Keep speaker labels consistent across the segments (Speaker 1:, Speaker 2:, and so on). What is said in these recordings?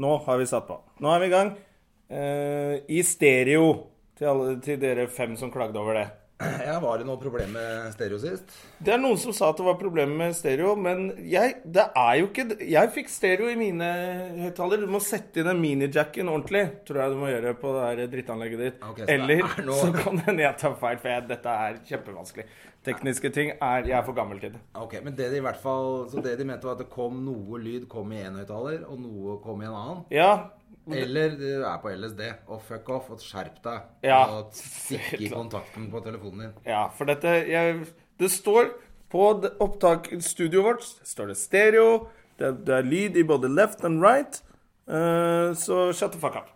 Speaker 1: Nå har vi satt på. Nå er vi i gang. Eh, I stereo til, alle, til dere fem som klagde over det.
Speaker 2: Ja, Var det noe problem med stereo sist?
Speaker 1: Det er noen som sa at det var problemer med stereo, men jeg, det er jo ikke det. Jeg fikk stereo i mine høyttalere. Du må sette inn den minijacken ordentlig, tror jeg du må gjøre på det der drittanlegget ditt.
Speaker 2: Ok, så det
Speaker 1: Eller
Speaker 2: er noe-
Speaker 1: så kan det hende jeg tar feil, for jeg, dette er kjempevanskelig. Tekniske ting er Jeg er for gammel til det.
Speaker 2: Ok, men det de i hvert fall Så det de mente var at det kom noe lyd kom i én høyttaler, og noe kom i en annen.
Speaker 1: Ja,
Speaker 2: Eller du er på LSD og fuck off og skjerp deg.
Speaker 1: Ja.
Speaker 2: Og stikk i kontakten på telefonen din.
Speaker 1: Ja, for dette jeg, Det står på d- opptak studioet vårt står det stereo. Det, det er lyd i både left and right. eh, så shut the fuck up.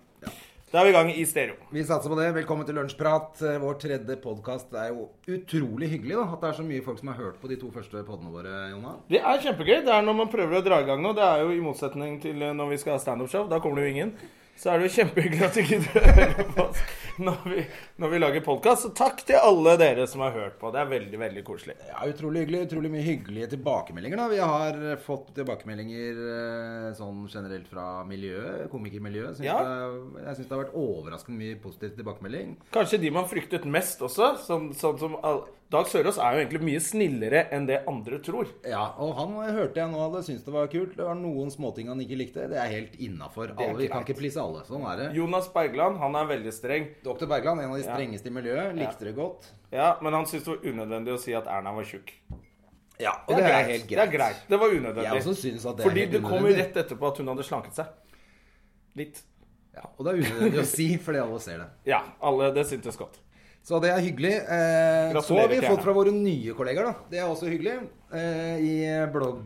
Speaker 1: Da er vi i gang i stereo.
Speaker 2: Vi satser på det. Velkommen til Lunsjprat, eh, vår tredje podkast. Det er jo utrolig hyggelig da, at det er så mye folk som har hørt på de to første podene våre, Jonna.
Speaker 1: Det er kjempegøy. Det er når man prøver å dra i gang nå. Det er jo i motsetning til eh, når vi skal ha standup-show. Da kommer det jo ingen. Så er det jo kjempehyggelig at du gidder å høre på oss når vi, når vi lager podkast. Så takk til alle dere som har hørt på. Det er veldig, veldig koselig.
Speaker 2: Ja, utrolig hyggelig. Utrolig mye hyggelige tilbakemeldinger. da. Vi har eh, fått tilbakemeldinger eh, sånn generelt fra miljøet, komikermiljøet. Synes
Speaker 1: Ja.
Speaker 2: det- Jeg syns det har vært overraskende mye positiv tilbakemelding.
Speaker 1: Kanskje de man fryktet mest også. Som, sånn som all... Dag Sørås er jo egentlig mye snillere enn det andre tror.
Speaker 2: Ja, og han eh, hørte jeg nå hadde syntes det var kult. Det var noen småting han ikke likte. Det er helt innafor.
Speaker 1: er
Speaker 2: Vi kan
Speaker 1: greit.
Speaker 2: ikke please alle. Sånn er det.
Speaker 1: Jonas Bergland han er veldig streng,
Speaker 2: Dr. Bergland, en av de strengeste i miljøet, likte det godt.
Speaker 1: ja, men han syntes det var unødvendig å si at Erna var tjukk.
Speaker 2: Ja, og det er, helt greit.
Speaker 1: Det er greit. Det var unødvendig.
Speaker 2: Jeg også synes at det er
Speaker 1: Fordi
Speaker 2: helt
Speaker 1: det kom jo
Speaker 2: unødvendig.
Speaker 1: rett etterpå at hun hadde slanket seg. Litt.
Speaker 2: Ja, og det er unødvendig å si, fordi alle ser det.
Speaker 1: Ja, alle, det syntes godt.
Speaker 2: Så det er hyggelig. Eh,
Speaker 1: Gratulerer
Speaker 2: så har vi
Speaker 1: til
Speaker 2: fått
Speaker 1: Erna.
Speaker 2: fra våre nye kolleger, da. Det er også hyggelig. Eh, I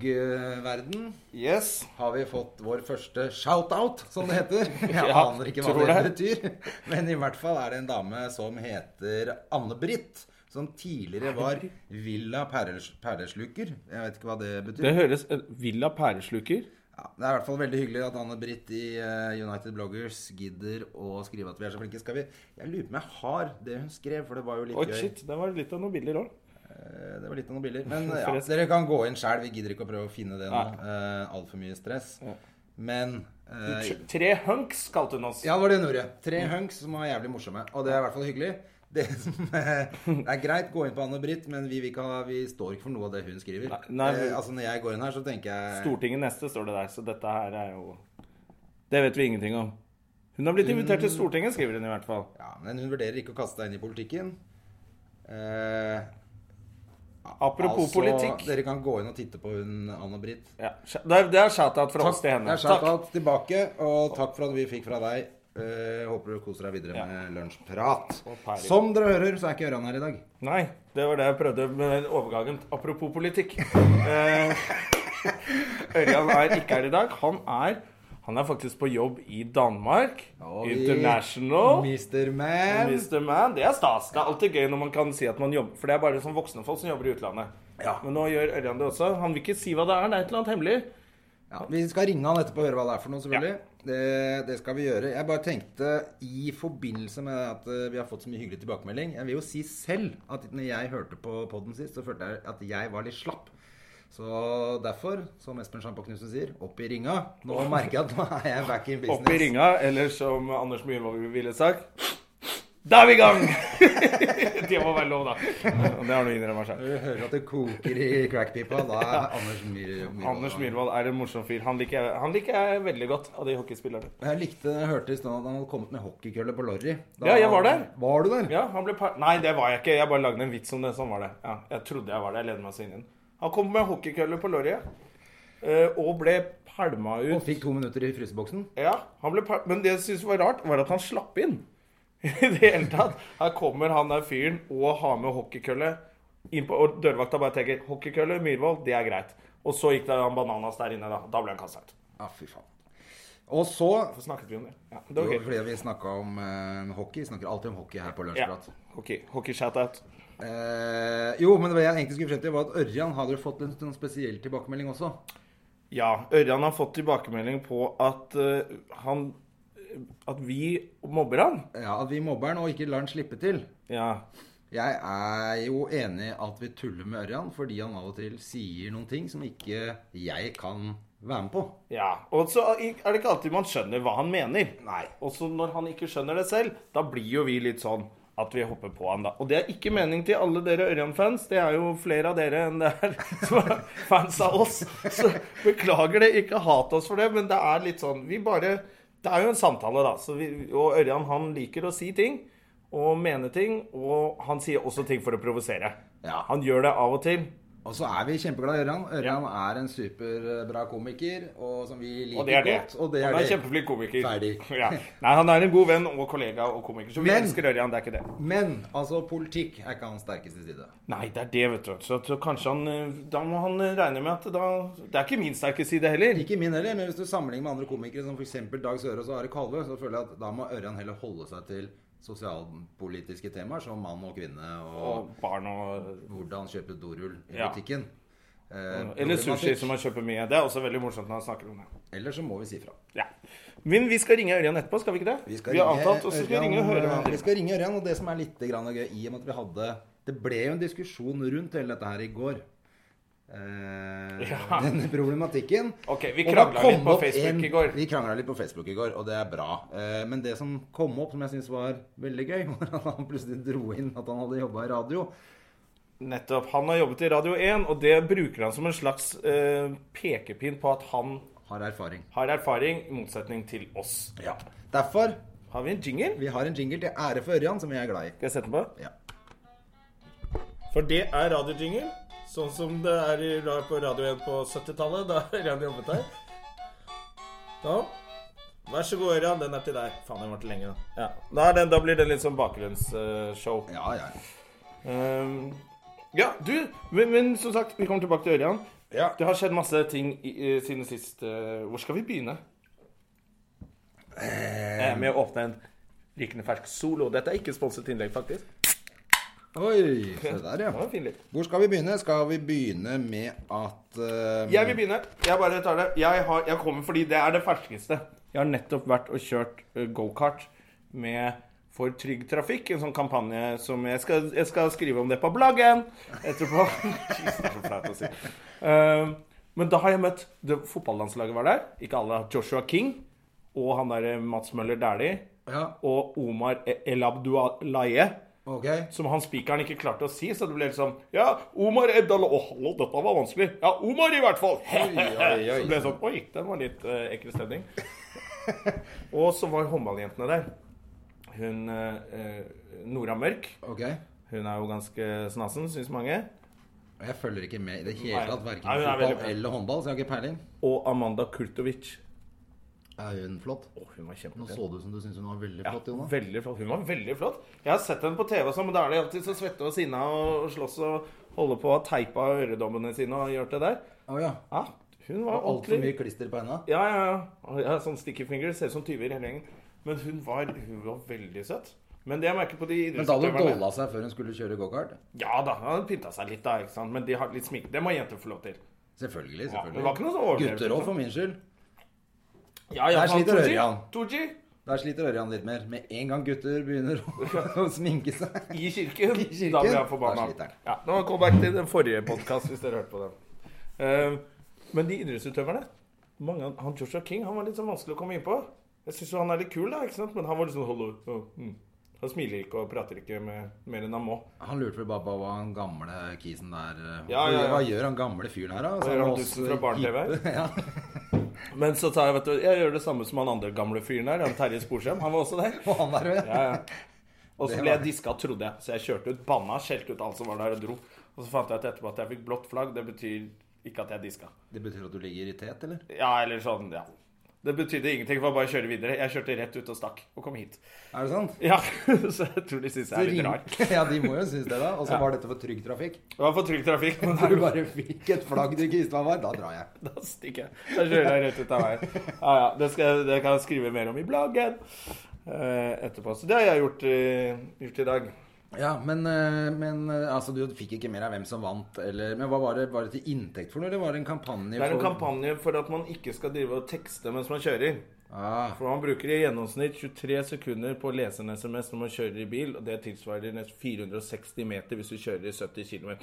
Speaker 2: bloggverden
Speaker 1: Yes.
Speaker 2: har vi fått vår første shout-out, som det heter. Jeg
Speaker 1: Ja,
Speaker 2: aner ikke hva
Speaker 1: tror
Speaker 2: det
Speaker 1: det.
Speaker 2: betyr, men i hvert fall er det en dame som heter Anne-Britt. Som tidligere var Villa Perles- Perlesluker. Jeg vet ikke hva det betyr.
Speaker 1: Det høres eh, Villa pæresluker.
Speaker 2: Ja, det er i hvert fall veldig hyggelig at Anne-Britt i eh, United Bloggers gidder å skrive at vi er så flinke. Skal vi Jeg lurer på om jeg har det hun skrev, for det var jo litt
Speaker 1: Oi,
Speaker 2: gøy.
Speaker 1: shit. Det var litt av noen bilder òg.
Speaker 2: Eh, Det var litt av noen bilder. Men ja,
Speaker 1: Forresten.
Speaker 2: dere kan gå inn sjæl. Vi gidder ikke å prøve å finne det nå. Eh, Altfor mye stress. Men eh,
Speaker 1: Tre hunks kalte hun oss.
Speaker 2: Ja, det var det hun gjorde. Tre
Speaker 1: Mm.
Speaker 2: hunks som var jævlig morsomme. Og det er i hvert fall hyggelig. Det som eh, er greit, gå inn på Anne-Britt, men vi, vil ikke ha, vi står ikke for noe av det hun skriver.
Speaker 1: Nei, nei,
Speaker 2: Eh,
Speaker 1: vi-
Speaker 2: altså Når jeg går inn her, så tenker jeg
Speaker 1: Stortinget neste, står det der. Så dette her er jo Det vet vi ingenting om. Hun har blitt invitert
Speaker 2: Mm.
Speaker 1: til Stortinget, skriver hun i hvert fall.
Speaker 2: Ja, Men hun vurderer ikke å kaste deg inn i politikken. Eh,
Speaker 1: Apropos
Speaker 2: altså,
Speaker 1: politikk.
Speaker 2: Dere kan gå inn og titte på hun Anne-Britt.
Speaker 1: Ja, det er, det er shout-out fra oss til henne.
Speaker 2: Det er shout-out tilbake, og takk for at vi fikk fra deg. Eh, håper du koser deg videre
Speaker 1: Ja.
Speaker 2: med lunsjprat.
Speaker 1: Og pæring.
Speaker 2: Som dere hører, så er ikke Ørjan her i dag.
Speaker 1: Nei, det var det jeg prøvde med den overgangen. Apropos politikk. Eh, Ørjan er ikke her i dag. Han er, han er faktisk på jobb i Danmark.
Speaker 2: Og vi-
Speaker 1: International.
Speaker 2: Mr. Man.
Speaker 1: Mr. Man. Det er stas. Det er alltid gøy når man kan si at man jobber For det er bare sånn voksne folk som jobber i utlandet.
Speaker 2: Ja.
Speaker 1: Men nå gjør Ørjan det også. Han vil ikke si hva det er. Det er et eller annet hemmelig.
Speaker 2: Ja, vi skal ringe han etterpå og høre hva det er for noe, selvfølgelig. Det, det skal vi gjøre. Jeg bare tenkte, i forbindelse med at eh, vi har fått så mye hyggelig tilbakemelding Jeg vil jo si selv at når jeg hørte på podden sist, så følte jeg at jeg var litt slapp. Så derfor, som Espen Sjampo Knutsen sier, opp i ringa. Nå merker jeg at nå er jeg back in business.
Speaker 1: Opp i ringa, eller som Anders Myhrvold ville sagt Da er vi i gang! det må være lov, da. Og det har du innrømma sjøl.
Speaker 2: Når du hører at det koker i crackpipa, da er Anders Myhr- Myhrvold
Speaker 1: Anders Myhrvold er en morsom fyr. Han liker, jeg- han liker jeg veldig godt av de hockeyspillerne.
Speaker 2: Jeg likte jeg hørte i stedet at han hadde kommet med hockeykølle på Lorry. Da-
Speaker 1: Ja, jeg var der.
Speaker 2: Var du der?
Speaker 1: Ja, han ble par... Nei, det var jeg ikke. Jeg bare lagde en vits om det. Sånn var det. Ja, jeg trodde jeg var det. Jeg ledet meg så inn i den. Han kom med hockeykølle på lorryet eh, og ble pælma
Speaker 2: Og
Speaker 1: ut.
Speaker 2: fikk to minutter i fryseboksen.
Speaker 1: Ja, han ble pæl... Men det jeg syntes var rart, var at han slapp inn. I det hele tatt. Her kommer han der fyren og har med hockeykølle inn på Og dørvakta bare tenker 'Hockeykølle, Myhrvold, det er greit'. Og så gikk det han bananas der inne, da. Da ble han kasta ut.
Speaker 2: Ja, fy faen. Og så
Speaker 1: Hvorfor snakket vi om det? Ja, det
Speaker 2: jo,
Speaker 1: var gøy.
Speaker 2: Fordi vi snakka om eh, hockey. Vi snakker alltid om hockey her på
Speaker 1: Ja.
Speaker 2: Lunsjprat.
Speaker 1: Hockey, hockey shout-out.
Speaker 2: Eh, jo, men det jeg egentlig skulle frem til, var at Ørjan hadde jo fått en, en spesiell tilbakemelding også.
Speaker 1: Ja, Ørjan har fått tilbakemelding på at eh, han At vi mobber han.
Speaker 2: Ja, At vi mobber han og ikke lar han slippe til.
Speaker 1: Ja.
Speaker 2: Jeg er jo enig i at vi tuller med Ørjan, fordi han av og til sier noen ting som ikke jeg kan være med på.
Speaker 1: Ja, Og så er det ikke alltid man skjønner hva han mener.
Speaker 2: Nei.
Speaker 1: Og så når han ikke skjønner det selv, da blir jo vi litt sånn at vi hopper på han da. Og det er ikke mening til alle dere Ørjan-fans. Det er jo flere av dere enn det er som er fans av oss. Så beklager det. Ikke hat oss for det, men det er litt sånn Vi bare Det er jo en samtale, da. Så vi, og Ørjan, han liker å si ting og mene ting. Og han sier også ting for å provosere.
Speaker 2: Ja.
Speaker 1: Han gjør det av og til.
Speaker 2: Og så er vi kjempeglad i Ørjan. Ørjan er en superbra komiker og som vi liker
Speaker 1: Og det er det.
Speaker 2: godt. Og det
Speaker 1: han
Speaker 2: er
Speaker 1: er
Speaker 2: det.
Speaker 1: kjempeflink komiker.
Speaker 2: Ferdig.
Speaker 1: Ja. Nei, han er en god venn og kollega og komiker, så vi
Speaker 2: Men-
Speaker 1: elsker Ørjan. Det er ikke det.
Speaker 2: Men altså, politikk er ikke hans sterkeste side.
Speaker 1: Nei, det er det, vet du. Så, så kanskje han eh, Da må han eh, regne med at da Det er ikke min sterke side heller.
Speaker 2: Ikke min heller, men hvis du sammenligner med andre komikere som f.eks. Dag Sørås og Are Kalve, så føler jeg at da må Ørjan heller holde seg til sosialpolitiske temaer som mann og kvinne og
Speaker 1: Og barn og
Speaker 2: hvordan kjøpe dorull i
Speaker 1: Ja.
Speaker 2: butikken. Eh,
Speaker 1: Eller sushi,
Speaker 2: problematikk.
Speaker 1: som han kjøper mye. Det er også veldig morsomt når han snakker om det.
Speaker 2: Eller så må vi si fra.
Speaker 1: Ja. Men vi skal ringe Ørjan etterpå, skal vi ikke det?
Speaker 2: Vi, skal
Speaker 1: har
Speaker 2: ringe eh,
Speaker 1: avtalt, og så skal vi ringe og høre hva han
Speaker 2: Vi
Speaker 1: driver med.
Speaker 2: skal ringe Ørjan, og det som er litt grann gøy i og med at vi hadde Det ble jo en diskusjon rundt hele dette her i går. Eh,
Speaker 1: Ja.
Speaker 2: Denne problematikken.
Speaker 1: Ok, vi
Speaker 2: Og da
Speaker 1: krangla
Speaker 2: kom
Speaker 1: litt på
Speaker 2: opp
Speaker 1: Facebook
Speaker 2: en-
Speaker 1: i går.
Speaker 2: Vi krangla litt på Facebook i går, og det er bra. Eh, men det som kom opp, som jeg syns var veldig gøy, var at han plutselig dro inn at han hadde jobba i radio.
Speaker 1: Nettopp. Han har jobbet i Radio 1, og det bruker han som en slags eh, pekepinn på at han
Speaker 2: Har erfaring.
Speaker 1: har erfaring, i motsetning til oss.
Speaker 2: Ja. Derfor
Speaker 1: Har vi en jingle?
Speaker 2: vi har en jingle til ære for Ørjan, som vi er glad i.
Speaker 1: Skal jeg sette den på?
Speaker 2: Ja.
Speaker 1: For det er radiojingle. Sånn som det er i, ra- på Radio 1 på 70-tallet, da Ørjan jobbet her. Da. Vær så god, Ørjan. Den er til deg. Faen, den varte lenge, da. Ja. Da, er den, da blir det litt sånn bakgrunnsshow.
Speaker 2: Ja, ja.
Speaker 1: Ehm, ja, du, men, men som sagt, vi kommer tilbake til Ørjan.
Speaker 2: ja.
Speaker 1: Det har skjedd masse ting i, i, siden sist. eh, hvor skal vi begynne? Eh, med å åpne en rykende fersk solo. Dette er ikke sponset innlegg, faktisk.
Speaker 2: Oi, se der,
Speaker 1: Det var
Speaker 2: ja.
Speaker 1: en fin lyd.
Speaker 2: Hvor skal vi begynne? Skal vi begynne med at eh,
Speaker 1: Jeg vil begynne. Jeg bare tar det. Jeg, har, jeg kommer fordi det er det ferskeste. Jeg har nettopp vært og kjørt eh, gokart med For trygg trafikk. En sånn kampanje som jeg skal, jeg skal skrive om det på bloggen etterpå. Jesus, det er så flaut å si. Eh, men da har jeg møtt det, Fotballandslaget var der. Ikke alle. Joshua King og han derre Mats Møller Dæhlie.
Speaker 2: Ja,
Speaker 1: Og Omar E- Elabdualaye.
Speaker 2: ok.
Speaker 1: Som han spikeren ikke klarte å si, så det ble liksom Ja, Omar Edal... Å, hallo, dette var vanskelig. Ja, Omar i hvert fall.
Speaker 2: oi, oi.
Speaker 1: Så ble det sånn Oi, den var litt eh, ekkel stemning. og så var håndballjentene der. Hun eh, eh, Nora Mørk.
Speaker 2: Ok. Jeg
Speaker 1: Hun er jo ganske snasen, syns mange.
Speaker 2: følger ikke med i det hele
Speaker 1: Nei.
Speaker 2: tatt, verken
Speaker 1: Nei, hun er veldig
Speaker 2: fotball
Speaker 1: bra.
Speaker 2: eller håndball, så jeg har ikke peiling.
Speaker 1: Og Amanda Kurtovic.
Speaker 2: Er hun flott?
Speaker 1: Å, hun var
Speaker 2: Nå
Speaker 1: kjempepen.
Speaker 2: så du som du syntes hun var veldig flott,
Speaker 1: Ja,
Speaker 2: Jonas.
Speaker 1: veldig flott. Hun var veldig flott. Jeg har sett henne på TV, også, men da er de alltid så svette og sinna og slåss og holder på å ha teipa øredommene sine og gjør det der.
Speaker 2: Å ja.
Speaker 1: Ja, hun var
Speaker 2: Altfor
Speaker 1: ordentlig
Speaker 2: mye klister på henne.
Speaker 1: Ja, ja, ja. ja. Sånn sticky finger. Ser ut som tyver hele gjengen. Men hun var, hun var veldig søt. Men det jeg merker på de
Speaker 2: Men da hadde hun
Speaker 1: idrettsutøverne
Speaker 2: dolla seg før hun skulle kjøre gokart?
Speaker 1: Ja da, hun hadde pynta seg litt, da. ikke sant? Men de har litt smink. Det må jenter få lov til.
Speaker 2: Selvfølgelig.
Speaker 1: Ja, det var
Speaker 2: selvfølgelig.
Speaker 1: ikke noe sånn overdrevet.
Speaker 2: Gutter òg, for min skyld.
Speaker 1: Ja, ja,
Speaker 2: Der
Speaker 1: faen,
Speaker 2: sliter
Speaker 1: Tooji.
Speaker 2: Ørjan.
Speaker 1: Tooji
Speaker 2: Der sliter Ørjan litt mer. Med en gang gutter begynner å sminke seg.
Speaker 1: i kirken.
Speaker 2: I kirken.
Speaker 1: Da blir jeg
Speaker 2: Da
Speaker 1: forbanna.
Speaker 2: sliter han.
Speaker 1: Ja, nå kom back til den forrige podkast, hvis dere hørte på den. Eh, men de idrettsutøverne mange, av- Han Joshua King han var litt sånn vanskelig å komme inn på. Jeg syns jo han er litt kul, da, ikke sant? men han var litt sånn hollow. og, mm. Han smiler ikke og prater ikke med, mer enn han må.
Speaker 2: Han lurte vel bare på hva han gamle kisen der eh,
Speaker 1: Ja, ja, ja.
Speaker 2: Hva gjør han gamle fyren her, da? Så
Speaker 1: gjør han
Speaker 2: var
Speaker 1: dusten
Speaker 2: også
Speaker 1: fra barne-TV?
Speaker 2: hippe. Ja.
Speaker 1: Men så sa jeg, vet du, jeg gjør det samme som han andre gamle fyren der, han Terje Sporsem. Han var også der.
Speaker 2: Og han der, ja.
Speaker 1: Ja, ja. Og så ble jeg diska, trodde jeg. Så jeg kjørte ut, banna, skjelte ut alt som var der, og dro. Og så fant jeg ut etterpå at jeg fikk blått flagg. Det betyr ikke at jeg diska.
Speaker 2: Det betyr at du ligger i tet, eller?
Speaker 1: Ja, eller sånn, ja. Det betydde ingenting, det var bare å kjøre videre. Jeg kjørte rett ut og stakk, og kom hit.
Speaker 2: Er det sant?
Speaker 1: Ja, så jeg tror de syns jeg er litt rar.
Speaker 2: Ring- Ja, de må jo synes det, da. Og så var dette for trygg trafikk.
Speaker 1: Det var for trygg trafikk, men
Speaker 2: Når du bare fikk et flagg du ikke visste hva var, da drar jeg.
Speaker 1: Da stikker jeg. Da kjører jeg rett ut av veien. Ja, ja. Det, skal, jeg- det kan jeg skrive mer om i bloggen eh, etterpå. Så det har jeg gjort, eh, gjort i dag.
Speaker 2: Ja, men, eh, men eh, altså, du fikk ikke mer av hvem som vant, eller Men hva var det, var det til inntekt for noe, eller var det en kampanje
Speaker 1: Det er en
Speaker 2: for
Speaker 1: kampanje for at man ikke skal drive og tekste mens man kjører.
Speaker 2: Ah,
Speaker 1: For man bruker i gjennomsnitt 23 sekunder på å lese en SMS når man kjører i bil, og det tilsvarer nesten 460 meter hvis du kjører i 70 km.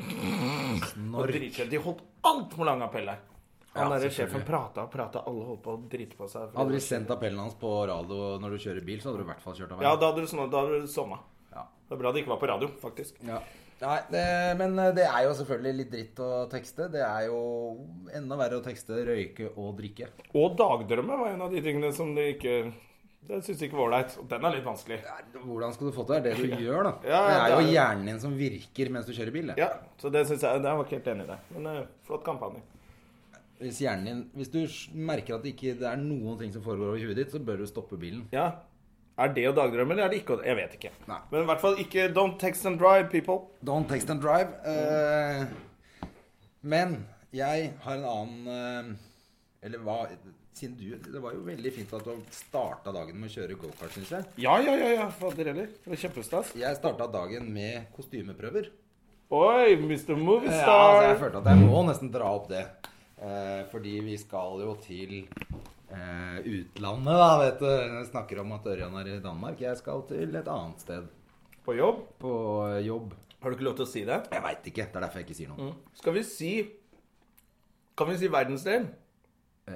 Speaker 2: når
Speaker 1: De holdt altfor lang appell her. Han
Speaker 2: Ja,
Speaker 1: derre
Speaker 2: selvfølgelig.
Speaker 1: sjefen prata og prata, alle holdt på å drite på seg.
Speaker 2: Hadde de sendt appellen hans på radio når du kjører bil, så hadde du i hvert fall kjørt av
Speaker 1: Ja,
Speaker 2: veien.
Speaker 1: da hadde du, sånn, da hadde du sovna.
Speaker 2: Ja.
Speaker 1: Det er bra det ikke var på radio, faktisk.
Speaker 2: Ja. Nei, det, men eh, det er jo selvfølgelig litt dritt å tekste. Det er jo enda verre å tekste røyke og drikke.
Speaker 1: Og dagdrømme var en av de tingene som de ikke Det syns de ikke var ålreit. Og den er litt vanskelig.
Speaker 2: Nei, Hvordan skal du få til det? Det er det du gjør, da.
Speaker 1: Ja,
Speaker 2: det
Speaker 1: ja,
Speaker 2: er
Speaker 1: det
Speaker 2: jo
Speaker 1: er-
Speaker 2: hjernen din som virker mens du kjører bil. det.
Speaker 1: Ja, så det syns jeg Der var ikke helt enig i det. Men eh, flott kampanje.
Speaker 2: Hvis, hjernen din, hvis du s- merker at det ikke det er noen ting som foregår over huet ditt, så bør du stoppe bilen.
Speaker 1: Ja. Er det å dagdrømme, eller er det ikke å Jeg vet ikke.
Speaker 2: Nei.
Speaker 1: Men i hvert fall ikke Don't text and drive, people.
Speaker 2: Don't text and drive. eh, men jeg har en annen eh, Eller hva Siden du Det var jo veldig fint at du starta dagen med å kjøre gokart, syns jeg.
Speaker 1: Ja, ja, ja. ja, Fader heller. Det var kjempestas.
Speaker 2: Jeg starta dagen med kostymeprøver.
Speaker 1: Oi, Mr.
Speaker 2: Ja, altså,
Speaker 1: Moviestar.
Speaker 2: jeg følte at jeg må nesten dra opp det. Eh, fordi vi skal jo til eh, utlandet, da, vet du. Jeg snakker om at Ørjan er i Danmark. Jeg skal til et annet sted.
Speaker 1: på jobb.
Speaker 2: På jobb.
Speaker 1: Har du ikke lov til å si det?
Speaker 2: Jeg veit ikke. Det er derfor jeg ikke sier noe.
Speaker 1: Skal vi si Kan vi si verdensdel?
Speaker 2: Eh,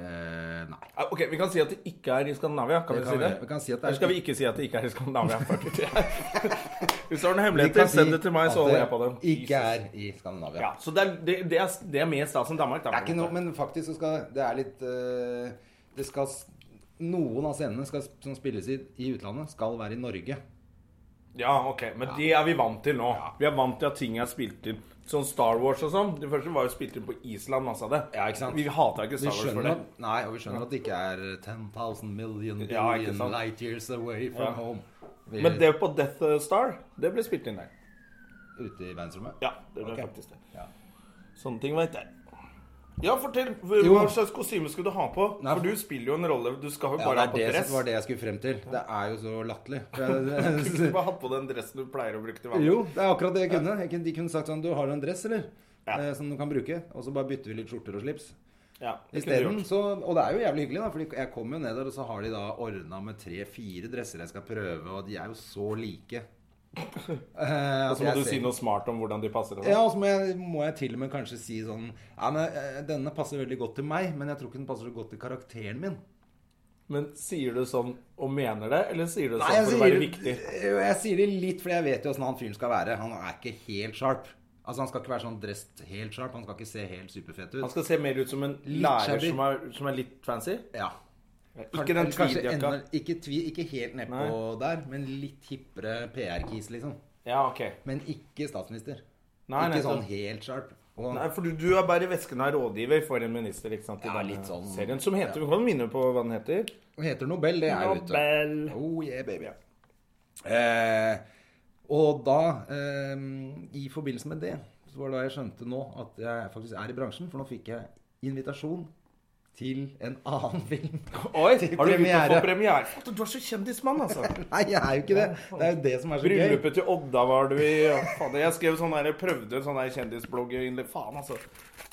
Speaker 2: nei.
Speaker 1: Eh, Ok, Vi kan si at det ikke er i Skandinavia. Kan
Speaker 2: Det
Speaker 1: vi
Speaker 2: kan
Speaker 1: si
Speaker 2: vi
Speaker 1: det?
Speaker 2: gjøre. Vi kan si at det er-
Speaker 1: Eller skal vi ikke si at det ikke er i Skandinavia? Hvis du har noen
Speaker 2: Vi kan
Speaker 1: hemmeligheter,
Speaker 2: si
Speaker 1: send det til meg, så
Speaker 2: at
Speaker 1: holder jeg på det.
Speaker 2: Ikke
Speaker 1: Jesus.
Speaker 2: er i Skandinavia.
Speaker 1: ja, så det er, det, det er, det er mer stas enn Danmark. Da,
Speaker 2: Det er ikke noe, men faktisk så skal det er litt eh, Det skal s- Noen av scenene skal, som spilles i, i utlandet, skal være i Norge.
Speaker 1: Ja, ok, Men det er vi vant til nå. Vi er vant til at ting er spilt inn. Sånn Star Wars og sånn. Det første var jo spilt inn på Island, masse av det.
Speaker 2: Ja, ikke sant?
Speaker 1: Vi hata ikke
Speaker 2: Vi
Speaker 1: Star Wars for
Speaker 2: skjønner
Speaker 1: det.
Speaker 2: at, nei, og vi skjønner at det ikke er 10,000 million
Speaker 1: Ja, ikke
Speaker 2: billion
Speaker 1: sant?
Speaker 2: light years away from
Speaker 1: Ja.
Speaker 2: home. Vi,
Speaker 1: Men det på Death Star, det ble spilt inn der.
Speaker 2: Ute i verdensrommet?
Speaker 1: Ja, det ble
Speaker 2: Ok.
Speaker 1: faktisk det.
Speaker 2: Ja.
Speaker 1: Sånne ting veit jeg. Ja, fortell. Hva
Speaker 2: Jo.
Speaker 1: hva slags kostyme skulle du ha på?
Speaker 2: Nei,
Speaker 1: For du spiller jo en rolle. Du skal jo
Speaker 2: Ja,
Speaker 1: bare
Speaker 2: det
Speaker 1: ha på
Speaker 2: er det,
Speaker 1: dress.
Speaker 2: som var det jeg skulle frem til. Det er jo så latterlig.
Speaker 1: Du kunne bare hatt på den dressen du pleier å bruke til vanlig.
Speaker 2: Jo, det er akkurat det jeg kunne. Jeg kunne. De kunne sagt sånn Du har en dress, eller?
Speaker 1: Ja.
Speaker 2: Eh, som du kan bruke. Og så bare bytter vi litt skjorter og slips.
Speaker 1: Ja, det kunne du
Speaker 2: Isteden
Speaker 1: gjort.
Speaker 2: så Og det er jo jævlig hyggelig, da. For jeg kommer jo ned der, og så har de da ordna med tre-fire dresser jeg skal prøve, og de er jo så like. Eh,
Speaker 1: Og
Speaker 2: at
Speaker 1: så må
Speaker 2: jeg
Speaker 1: du
Speaker 2: ser-
Speaker 1: si noe smart om hvordan de passer. og sånn.
Speaker 2: Ja, og så må jeg, må jeg til og med kanskje si sånn Ja, men eh, denne passer veldig godt til meg, men jeg tror ikke den passer så godt til karakteren min.
Speaker 1: Men sier du sånn og mener det, eller sier du det
Speaker 2: Nei,
Speaker 1: sånn
Speaker 2: jeg
Speaker 1: for å
Speaker 2: sier,
Speaker 1: være viktig?
Speaker 2: jo, jeg sier det litt, for jeg vet jo åssen han fyren skal være. Han er ikke helt sharp. Altså, Han skal ikke være sånn dressed helt sharp. Han skal ikke se helt superfett
Speaker 1: Han
Speaker 2: ut.
Speaker 1: skal se mer ut som en
Speaker 2: Litt
Speaker 1: lærer
Speaker 2: shabby.
Speaker 1: som er, som er litt fancy?
Speaker 2: Ja.
Speaker 1: Ikke den
Speaker 2: Eller kanskje
Speaker 1: tweedjakka.
Speaker 2: enda- Ikke, tvi, ikke helt nedpå der, men litt hippere PR-kis, liksom.
Speaker 1: Ja, ok.
Speaker 2: Men ikke statsminister.
Speaker 1: Nei,
Speaker 2: ikke
Speaker 1: nei,
Speaker 2: sånn
Speaker 1: så-
Speaker 2: helt sharp. Og,
Speaker 1: Nei, for du, du er bare i vesken av rådgiver for en minister, ikke sant? I
Speaker 2: Ja,
Speaker 1: denne
Speaker 2: litt sånn.
Speaker 1: serien som heter Vi kan minne på hva den heter.
Speaker 2: og heter Nobel, det er jo ute.
Speaker 1: Nobel.
Speaker 2: Oh yeah, baby. Eh, og da, eh, i forbindelse med det, så var det da jeg skjønte nå at jeg faktisk er i bransjen, for nå fikk jeg invitasjon til en annen film.
Speaker 1: Oi,
Speaker 2: Til
Speaker 1: har du begynt å
Speaker 2: premiere.
Speaker 1: få premiere? Fader, Du er så kjendismann, altså.
Speaker 2: Nei, jeg er jo ikke det. Det er jo det som er så gøy.
Speaker 1: Bryllupet til Odda var du i. Ja, fader, jeg skrev sånn der, jeg prøvde en sånn der kjendisblogg i Faen, altså.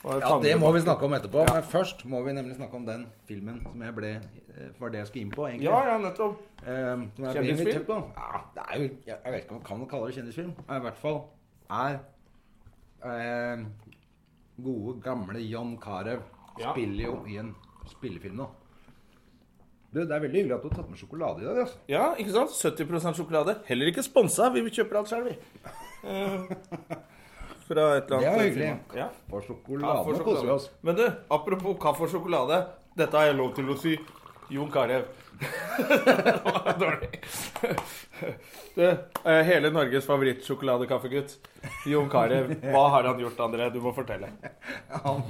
Speaker 2: Ja, Det må vi snakke om etterpå, men først må vi nemlig snakke om den filmen som jeg ble eh, var det jeg skulle inn på, egentlig.
Speaker 1: Ja, ja, nettopp.
Speaker 2: Eh, som jeg ble
Speaker 1: Kjendisfilm?
Speaker 2: invitert på. Ja, det er jo, jeg, jeg vet ikke om man kan kalle det kjendisfilm. Det er I hvert fall er eh, gode, gamle John Carew
Speaker 1: Ja.
Speaker 2: spiller jo i en spillefilm nå. Du, Det er veldig hyggelig at du har tatt med sjokolade i dag. Altså.
Speaker 1: Ja, ikke sant? 70 sjokolade. Heller ikke sponsa. Vi kjøper alt sjøl, vi. Eh, Fra et eller annet
Speaker 2: Det var hyggelig.
Speaker 1: firma. Ja.
Speaker 2: For sjokolade,
Speaker 1: Kaffe og
Speaker 2: nå koser vi oss.
Speaker 1: sjokolade. Men du, apropos kaffe og sjokolade. Dette har jeg lov til å si. Jon Carew. det var dårlig. Du, eh, hele Norges favorittsjokoladekaffegutt. Jon Carew. Hva har han gjort, André? Du må fortelle.
Speaker 2: Han,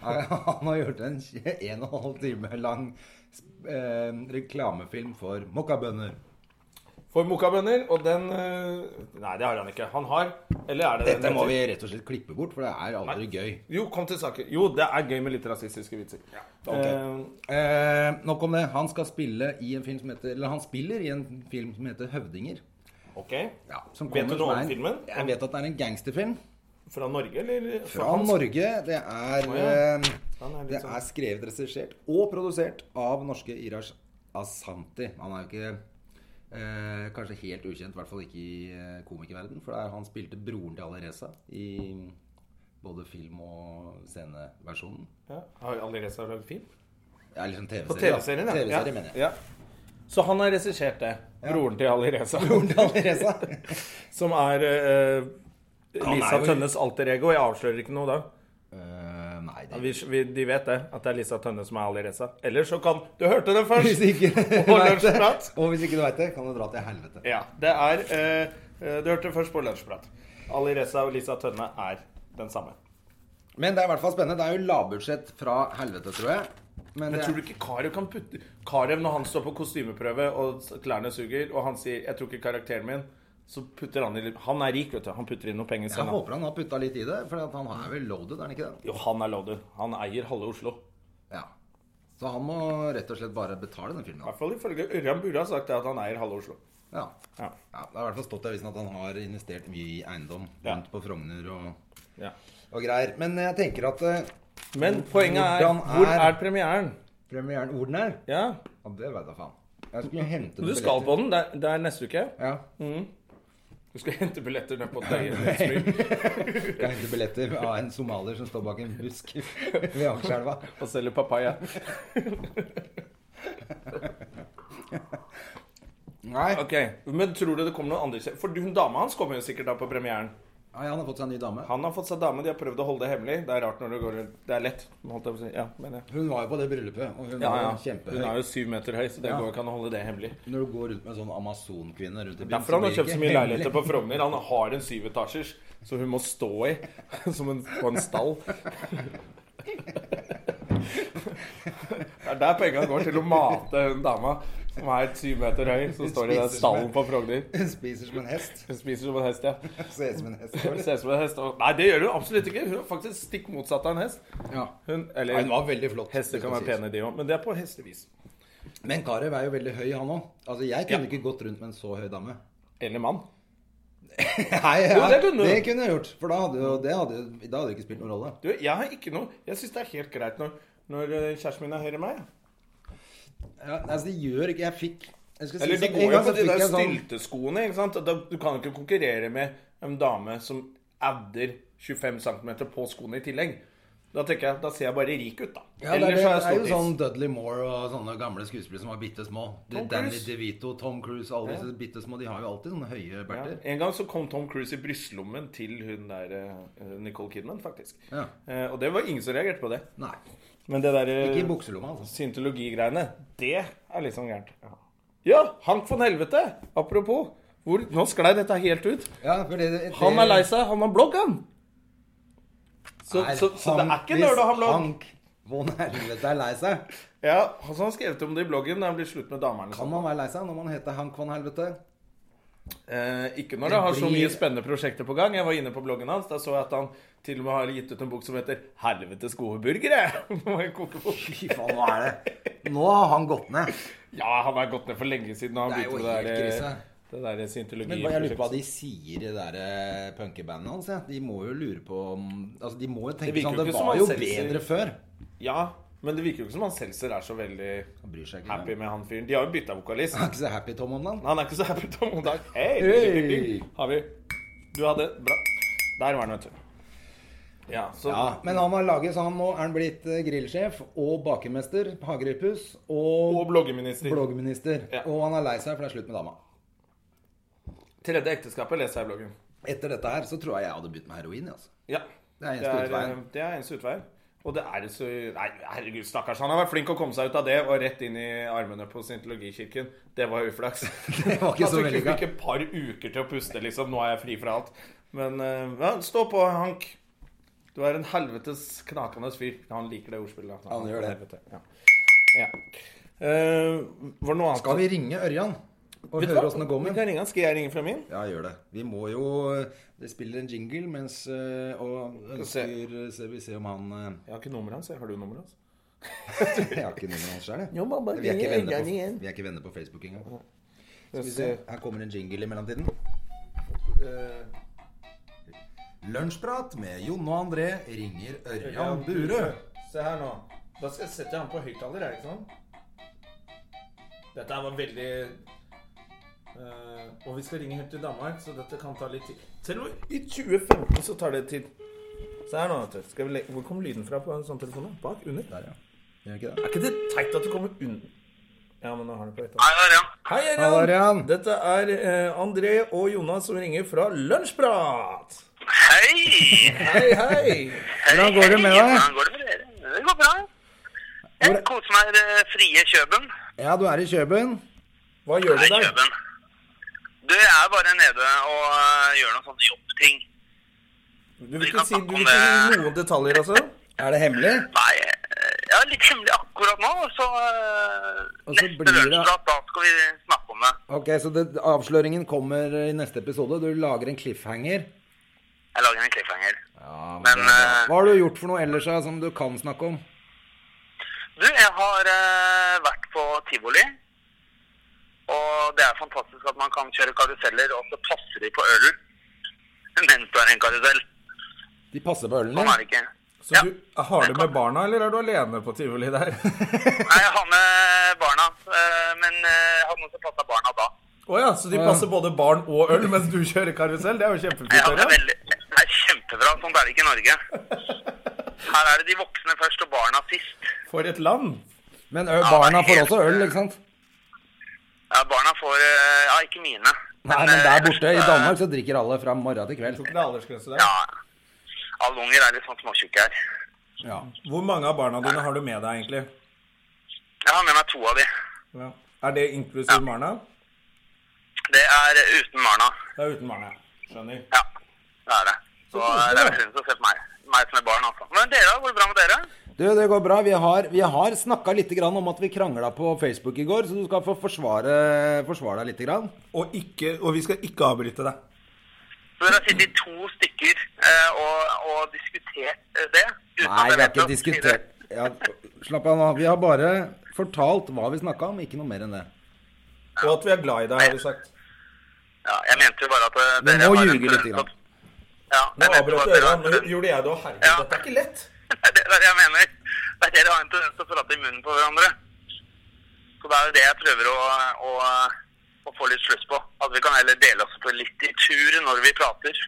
Speaker 2: han har gjort en 1 12 time lang eh, reklamefilm for mokkabønner.
Speaker 1: For mokabønner, og den eh, Nei, det har han ikke. Han har Eller er det den
Speaker 2: Dette må
Speaker 1: heter?
Speaker 2: vi rett og slett klippe bort, for det er aldri gøy.
Speaker 1: Jo, kom til saken. Jo, det er gøy med litt rasistiske vitser.
Speaker 2: ok.
Speaker 1: Eh,
Speaker 2: Eh, nok om det. Han skal spille i en film som heter Eller han spiller i en film som heter Høvdinger.
Speaker 1: ok.
Speaker 2: som
Speaker 1: Vet du
Speaker 2: kommer- som
Speaker 1: noe
Speaker 2: er
Speaker 1: om
Speaker 2: en-
Speaker 1: filmen?
Speaker 2: Jeg vet at det er en gangsterfilm.
Speaker 1: Fra Norge, eller?
Speaker 2: Fra Norge. Det er,
Speaker 1: Å, ja.
Speaker 2: eh,
Speaker 1: Han er litt
Speaker 2: det
Speaker 1: sånn-
Speaker 2: er skrevet, regissert og produsert av norske Irash Asanti. Han er jo ikke eh, kanskje helt ukjent, i hvert fall ikke i eh, komikerverden For det er, han spilte broren til Ali Reza i Både film- og sceneversjonen.
Speaker 1: Ja. Har Anne Reza lagd film?
Speaker 2: Ja, liksom TV-serie.
Speaker 1: På TV-serien,
Speaker 2: ja.
Speaker 1: ja.
Speaker 2: TV-serie,
Speaker 1: ja.
Speaker 2: mener jeg.
Speaker 1: Ja. Så han har regissert det. Broren til Ali Reza.
Speaker 2: Broren til Anne Reza.
Speaker 1: Som er eh,
Speaker 2: Han
Speaker 1: Lisa
Speaker 2: er jo-
Speaker 1: Tønnes alter ego. Jeg avslører ikke noe da.
Speaker 2: Eh, nei, det
Speaker 1: Vi, vi, de vet det, at det er Lisa Tønne som er Ali Reza. Eller så kan Du hørte det
Speaker 2: Hvis
Speaker 1: først!
Speaker 2: ikke du
Speaker 1: Og
Speaker 2: vet det-
Speaker 1: lunsjprat.
Speaker 2: Og hvis ikke du veit det, kan du dra til helvete.
Speaker 1: Ja, det er eh, eh, Du hørte det først på Lunsjprat. Ali Reza og Lisa Tønne er den samme.
Speaker 2: Men det er i hvert fall spennende. Det er jo lavbudsjett fra helvete, tror jeg. Men
Speaker 1: Men
Speaker 2: det,
Speaker 1: tror du ikke Karev kan putte Karev, når han står på kostymeprøve og s- klærne suger, og han sier 'jeg tror ikke karakteren min', så putter han i litt- Han er rik, vet du. Han putter inn noe penger
Speaker 2: jeg
Speaker 1: selv. han.
Speaker 2: håper han har putta litt i det, for han er vel loaded, er han ikke det?
Speaker 1: Jo, han er loaded. Han eier halve Oslo.
Speaker 2: Ja. Så han må rett og slett bare betale den filmen.
Speaker 1: I hvert fall ifølge Ørjan Bure har sagt det at han eier halve Oslo.
Speaker 2: Ja.
Speaker 1: Ja.
Speaker 2: ja. Det har i hvert fall stått i avisen at han har investert mye i eiendom
Speaker 1: Ja.
Speaker 2: rundt på Frogner og,
Speaker 1: ja.
Speaker 2: og greier. Men jeg tenker at eh,
Speaker 1: Men poenget er
Speaker 2: Hvordan
Speaker 1: Hvor
Speaker 2: er-
Speaker 1: er premieren?
Speaker 2: premieren Hvor den er?
Speaker 1: Ja,
Speaker 2: Ja, det veit jeg faen. Jeg skulle hente
Speaker 1: Du skal på den. Det er, det er neste uke.
Speaker 2: Ja.
Speaker 1: Du skal hente billetter ned på Døyen
Speaker 2: Skal hente billetter av en somalier som står bak en busk ved Akerselva.
Speaker 1: og selge papaya.
Speaker 2: Nei.
Speaker 1: Ok, Men tror du det kommer noen andre kje- For hun dama hans kommer jo sikkert da på premieren.
Speaker 2: Nei, han har fått seg en ny dame.
Speaker 1: Han har fått seg dame, de har prøvd å holde det hemmelig. Det er rart når det går Det er lett. Holdt jeg på å si. Ja, mener jeg.
Speaker 2: Hun var jo på det bryllupet, og hun
Speaker 1: Ja,
Speaker 2: var
Speaker 1: ja.
Speaker 2: jo kjempehøy.
Speaker 1: Hun er jo syv meter høy, så det
Speaker 2: Ja.
Speaker 1: går ikke an å holde det hemmelig.
Speaker 2: Når du går rundt med en sånn amazonkvinne rundt i byen
Speaker 1: Derfor han har
Speaker 2: blir det
Speaker 1: kjøpt så
Speaker 2: ikke
Speaker 1: mye
Speaker 2: hemmelig.
Speaker 1: leiligheter på Frogner. Han har en syvetasjers som hun må stå i, som en, på en stall. Det er der penga går til å mate hun dama som er syv meter høy, som står i den
Speaker 2: spiser
Speaker 1: stallen
Speaker 2: som en-
Speaker 1: på Frogner.
Speaker 2: Hun spiser som en hest.
Speaker 1: Hun spiser som en hest, ja.
Speaker 2: Ser ut som en hest.
Speaker 1: Hun ser ut som en hest. Og... Nei, det gjør hun absolutt ikke. Hun er faktisk stikk motsatt av en hest.
Speaker 2: Ja.
Speaker 1: Hun,
Speaker 2: Nei, Hun
Speaker 1: eller
Speaker 2: var veldig flott.
Speaker 1: hester kan
Speaker 2: det
Speaker 1: være
Speaker 2: skal sies.
Speaker 1: pene, de òg, men det er på hestevis.
Speaker 2: Men Karev er jo veldig høy, han òg. Altså, jeg
Speaker 1: Ja.
Speaker 2: kunne ikke gått rundt med en så høy dame.
Speaker 1: Eller mann.
Speaker 2: Nei,
Speaker 1: Jo, det kunne du.
Speaker 2: det kunne jeg gjort. For da hadde jo det hadde, jo- da hadde det ikke spilt noen rolle.
Speaker 1: Du, jeg har ikke noe Jeg syns det er helt greit når, når eh, kjæresten min er høyere enn meg. ja.
Speaker 2: Ja, altså, det gjør ikke Jeg fikk jeg skal si
Speaker 1: Eller de
Speaker 2: sånn, en
Speaker 1: går jo
Speaker 2: gang
Speaker 1: på
Speaker 2: så
Speaker 1: de
Speaker 2: fikk
Speaker 1: der
Speaker 2: jeg sånn-
Speaker 1: stylteskoene, ikke sant? Og Da, du kan jo ikke konkurrere med en dame som adder 25 cm på skoene i tillegg. Da tenker jeg, da ser jeg bare rik ut, da.
Speaker 2: Ja, det, er,
Speaker 1: Ellers
Speaker 2: det,
Speaker 1: har jeg
Speaker 2: det er
Speaker 1: stått
Speaker 2: jo
Speaker 1: i.
Speaker 2: sånn Dudley Moore og sånne gamle skuespillere som var bitte små.
Speaker 1: Tom
Speaker 2: Danny
Speaker 1: Cruise.
Speaker 2: DeVito, Tom Cruise, alle disse bitte små. De har jo alltid sånne høye
Speaker 1: Ja.
Speaker 2: berter.
Speaker 1: En gang så kom Tom Cruise i brystlommen til hun der eh, Nicole Kidman, faktisk.
Speaker 2: Ja.
Speaker 1: Eh, og det var ingen som reagerte på det.
Speaker 2: Nei.
Speaker 1: Men det øh, derre
Speaker 2: Ikke i bukselomma, altså.
Speaker 1: Syntologigreiene, det er liksom gærent. Ja, Hank von Helvete! Apropos. Hvor, nå sklei dette helt ut.
Speaker 2: Ja, fordi det, det,
Speaker 1: Han er lei seg. Han har blogg, han. Så,
Speaker 2: Nei,
Speaker 1: så, så det er
Speaker 2: Hank-
Speaker 1: ikke lørdag han blogg.
Speaker 2: Hank von helvete er lei seg.
Speaker 1: Ja, altså, han har skrevet om det i bloggen da han blir slutt med damerne.
Speaker 2: Kan man være lei seg når man heter Hank von helvete?
Speaker 1: Eh, ikke når
Speaker 2: Det
Speaker 1: det har så
Speaker 2: blir-
Speaker 1: mye spennende prosjekter på gang. Jeg var inne på bloggen hans. Da så jeg at han til og med har gitt ut en bok som heter 'Helvetes gode burgere'. Det var en kokebok.
Speaker 2: Fy faen, hva er det? Nå har han gått ned.
Speaker 1: ja, han har gått ned for lenge siden. og Han
Speaker 2: Det er jo
Speaker 1: begynte det
Speaker 2: helt krise.
Speaker 1: der, det der
Speaker 2: Men hva- jeg lurer på hva
Speaker 1: scientologi-prosjektet.
Speaker 2: de sier i det der eh, punkebandene hans. Ja. De må jo lure på om- Altså, de må jo
Speaker 1: Det
Speaker 2: tenke
Speaker 1: virker
Speaker 2: sånn
Speaker 1: jo
Speaker 2: Det
Speaker 1: ikke som
Speaker 2: var
Speaker 1: han
Speaker 2: jo
Speaker 1: selv sier.
Speaker 2: bedre før.
Speaker 1: Ja, men det virker jo ikke som han Seltzer er så veldig
Speaker 2: Han bryr seg ikke.
Speaker 1: happy med han fyren. De har jo bytta vokalist.
Speaker 2: Han er ikke så happy Tom om dagen.
Speaker 1: Han er ikke så happy Tom om dagen. Hei!
Speaker 2: Hei!
Speaker 1: ping, ping. Har vi Du hadde Bra. Der var den, vet du. Ja, så
Speaker 2: Ja, men han har laget sånn nå er han blitt eh, grillsjef og bakermester, hageripus og
Speaker 1: Og bloggeminister.
Speaker 2: bloggminister.
Speaker 1: Ja.
Speaker 2: Og han er lei seg, for det er slutt med dama.
Speaker 1: Tredje ekteskapet leser jeg i bloggen.
Speaker 2: Etter dette her så tror jeg jeg hadde begynt med heroin. Altså.
Speaker 1: Ja.
Speaker 2: Det er eneste utveien.
Speaker 1: eh, Det er eneste utveien. Og det er så Nei, herregud, stakkars. Han har vært flink å komme seg ut av det og rett inn i armene på Scientologikirken. Det var uflaks.
Speaker 2: Det var ikke så
Speaker 1: Han fikk
Speaker 2: vellykka.
Speaker 1: ikke et par uker til å puste, liksom. Nå er jeg fri fra alt. Men eh, ja, stå på, Hank. Du er en helvetes knakende fyr. Han liker det ordspillet.
Speaker 2: Han gjør det.
Speaker 1: Helvete, Ja. ja. Eh, var det noe annet?
Speaker 2: Skal vi ringe Ørjan og
Speaker 1: Vet du
Speaker 2: høre
Speaker 1: hva?
Speaker 2: åssen det går
Speaker 1: Vi
Speaker 2: med?
Speaker 1: kan ringe han. Skal jeg ringe fra min?
Speaker 2: Ja, gjør det. Vi må jo Det spiller en jingle mens eh, Og
Speaker 1: se.
Speaker 2: ønsker se, Vi ser om han eh,
Speaker 1: Jeg har ikke nummeret hans. jeg. Har du nummeret hans?
Speaker 2: Jeg har ikke nummeret hans sjøl, jeg.
Speaker 1: Jo, bare
Speaker 2: Vi er, ikke
Speaker 1: ring
Speaker 2: venner
Speaker 1: Ørjan
Speaker 2: på,
Speaker 1: igjen.
Speaker 2: vi er ikke venner på Facebook engang.
Speaker 1: Skal
Speaker 2: Skal vi se. Her kommer en jingle i mellomtiden. Eh, Lunsjprat med Jon og André ringer Ørjan Burøe.
Speaker 1: Se her nå. Da skal jeg sette han på høyttaler, er det ikke sånn? Dette her var veldig eh, Og vi skal ringe helt til Danmark, så dette kan ta litt tid. Selv om i 2015 så tar det tid. Se her nå, vet du. Skal vi legge... Hvor kom lyden fra på en sånn telefon? da? Bak? Under?
Speaker 2: Der, ja. Gjør ikke det?
Speaker 1: Er ikke det teit at du kommer under Ja, men nå har den på høyttaler.
Speaker 3: Nei, det er det.
Speaker 1: Hei,
Speaker 2: Hallo,
Speaker 1: Arian.
Speaker 2: Arian.
Speaker 1: Dette er eh, André og Jonas som ringer fra Lunsjprat.
Speaker 3: Hei!
Speaker 1: Hei, hei.
Speaker 2: Hvordan går det med
Speaker 3: Hei,
Speaker 2: deg?
Speaker 3: Hvordan går det med dere? Det går bra. Jeg
Speaker 2: Hvordan-
Speaker 3: koser meg i det frie Kjøben.
Speaker 2: Ja, du er i Kjøben.
Speaker 1: Hva gjør du
Speaker 3: Nei,
Speaker 1: der?
Speaker 3: Kjøben. Du, jeg er bare nede og øh, gjør noen sånne jobbting.
Speaker 1: Du vil ikke si, du vil ikke si noen detaljer, altså?
Speaker 2: Er det hemmelig?
Speaker 3: Nei, øh, ja, litt hemmelig akkurat nå, og så øh,
Speaker 2: Og så blir
Speaker 3: neste
Speaker 2: det-
Speaker 3: lønnsprat, da skal vi snakke om det.
Speaker 2: Ok, så det, avsløringen kommer i neste episode. Du lager en cliffhanger.
Speaker 3: Jeg lager en cliffhanger.
Speaker 2: Ja,
Speaker 3: Men,
Speaker 2: det er bra.
Speaker 3: eh,
Speaker 2: Hva har du gjort for noe ellers da, som du kan snakke om?
Speaker 3: Du, jeg har øh, vært på Tivoli. Og det er fantastisk at man kan kjøre karuseller, og så passer de på ølen mens du er i en karusell.
Speaker 2: De passer på ølen
Speaker 3: Sånn
Speaker 2: din.
Speaker 3: er det ikke.
Speaker 1: Så du, har du med barna, eller er du alene på tivoli der?
Speaker 3: Nei, jeg har med barna, eh, men eh, jeg hadde noen som passa barna da.
Speaker 1: Å ja, så de passer både barn og øl mens du kjører karusell? Det er jo
Speaker 3: Ja,
Speaker 1: kjempefint.
Speaker 3: det, er
Speaker 1: Arian.
Speaker 3: veldig, det er kjempebra. Sånn er det ikke i Norge. Her er det de voksne først og barna sist.
Speaker 1: For et land.
Speaker 2: Men ø, barna får også øl, ikke sant?
Speaker 3: Ja, barna får eh, Ja, ikke mine.
Speaker 2: Nei, men
Speaker 3: eh,
Speaker 2: der borte i
Speaker 3: eh,
Speaker 2: Danmark så drikker alle fra morgen til kveld.
Speaker 1: Tror ikke det er aldersgrense der.
Speaker 3: Ja. Alle unger er litt sånn småtjukke her.
Speaker 2: Ja.
Speaker 1: Hvor mange av barna dine har du med deg, egentlig?
Speaker 3: Jeg har med meg to av de.
Speaker 1: Ja. Er det inklusiv Marna?
Speaker 3: Det er eh, uten barna.
Speaker 1: Det er uten Marna. Skjønner.
Speaker 3: Ja, det er det. Så eh, det er
Speaker 1: koselig, da.
Speaker 3: vel synd å se på meg. Meg som er barn, altså. Men dere, da? Går det bra med dere?
Speaker 2: Du, det går bra. Vi har, vi har snakka litt grann om at vi krangla på Facebook i går, så du skal få forsvare, forsvare deg litt. Grann.
Speaker 1: Og, ikke, og vi skal ikke avbryte deg.
Speaker 3: Så dere har sittet to stykker eh, og, og diskutert eh, det? uten at
Speaker 2: Nei, vi
Speaker 3: jeg
Speaker 2: har
Speaker 3: vet
Speaker 2: ikke
Speaker 3: det, sier
Speaker 2: diskutert ja, Slapp av nå. Vi har bare fortalt hva vi snakka om, ikke noe mer enn det.
Speaker 1: Og at vi er glad i deg, har vi sagt.
Speaker 3: Ja, jeg mente jo bare at eh,
Speaker 2: Men
Speaker 3: dere
Speaker 2: nå
Speaker 3: har en
Speaker 2: ljuger litt.
Speaker 3: tendens
Speaker 2: Grann.
Speaker 1: Nå
Speaker 3: Ja, jeg mente jo
Speaker 1: avbrøt
Speaker 3: bare at
Speaker 1: du
Speaker 3: dere har
Speaker 1: Ørjan.
Speaker 3: en
Speaker 1: Nå
Speaker 3: tendens-
Speaker 1: gjorde jeg det òg. Herregud,
Speaker 3: Ja.
Speaker 1: dette er ikke lett.
Speaker 3: Det er det jeg mener. Det er dere har en tendens til å prate i munnen på hverandre. Så det er jo det jeg prøver å, å, å få litt sluss på. At vi kan heller dele oss på litt i tur når vi prater.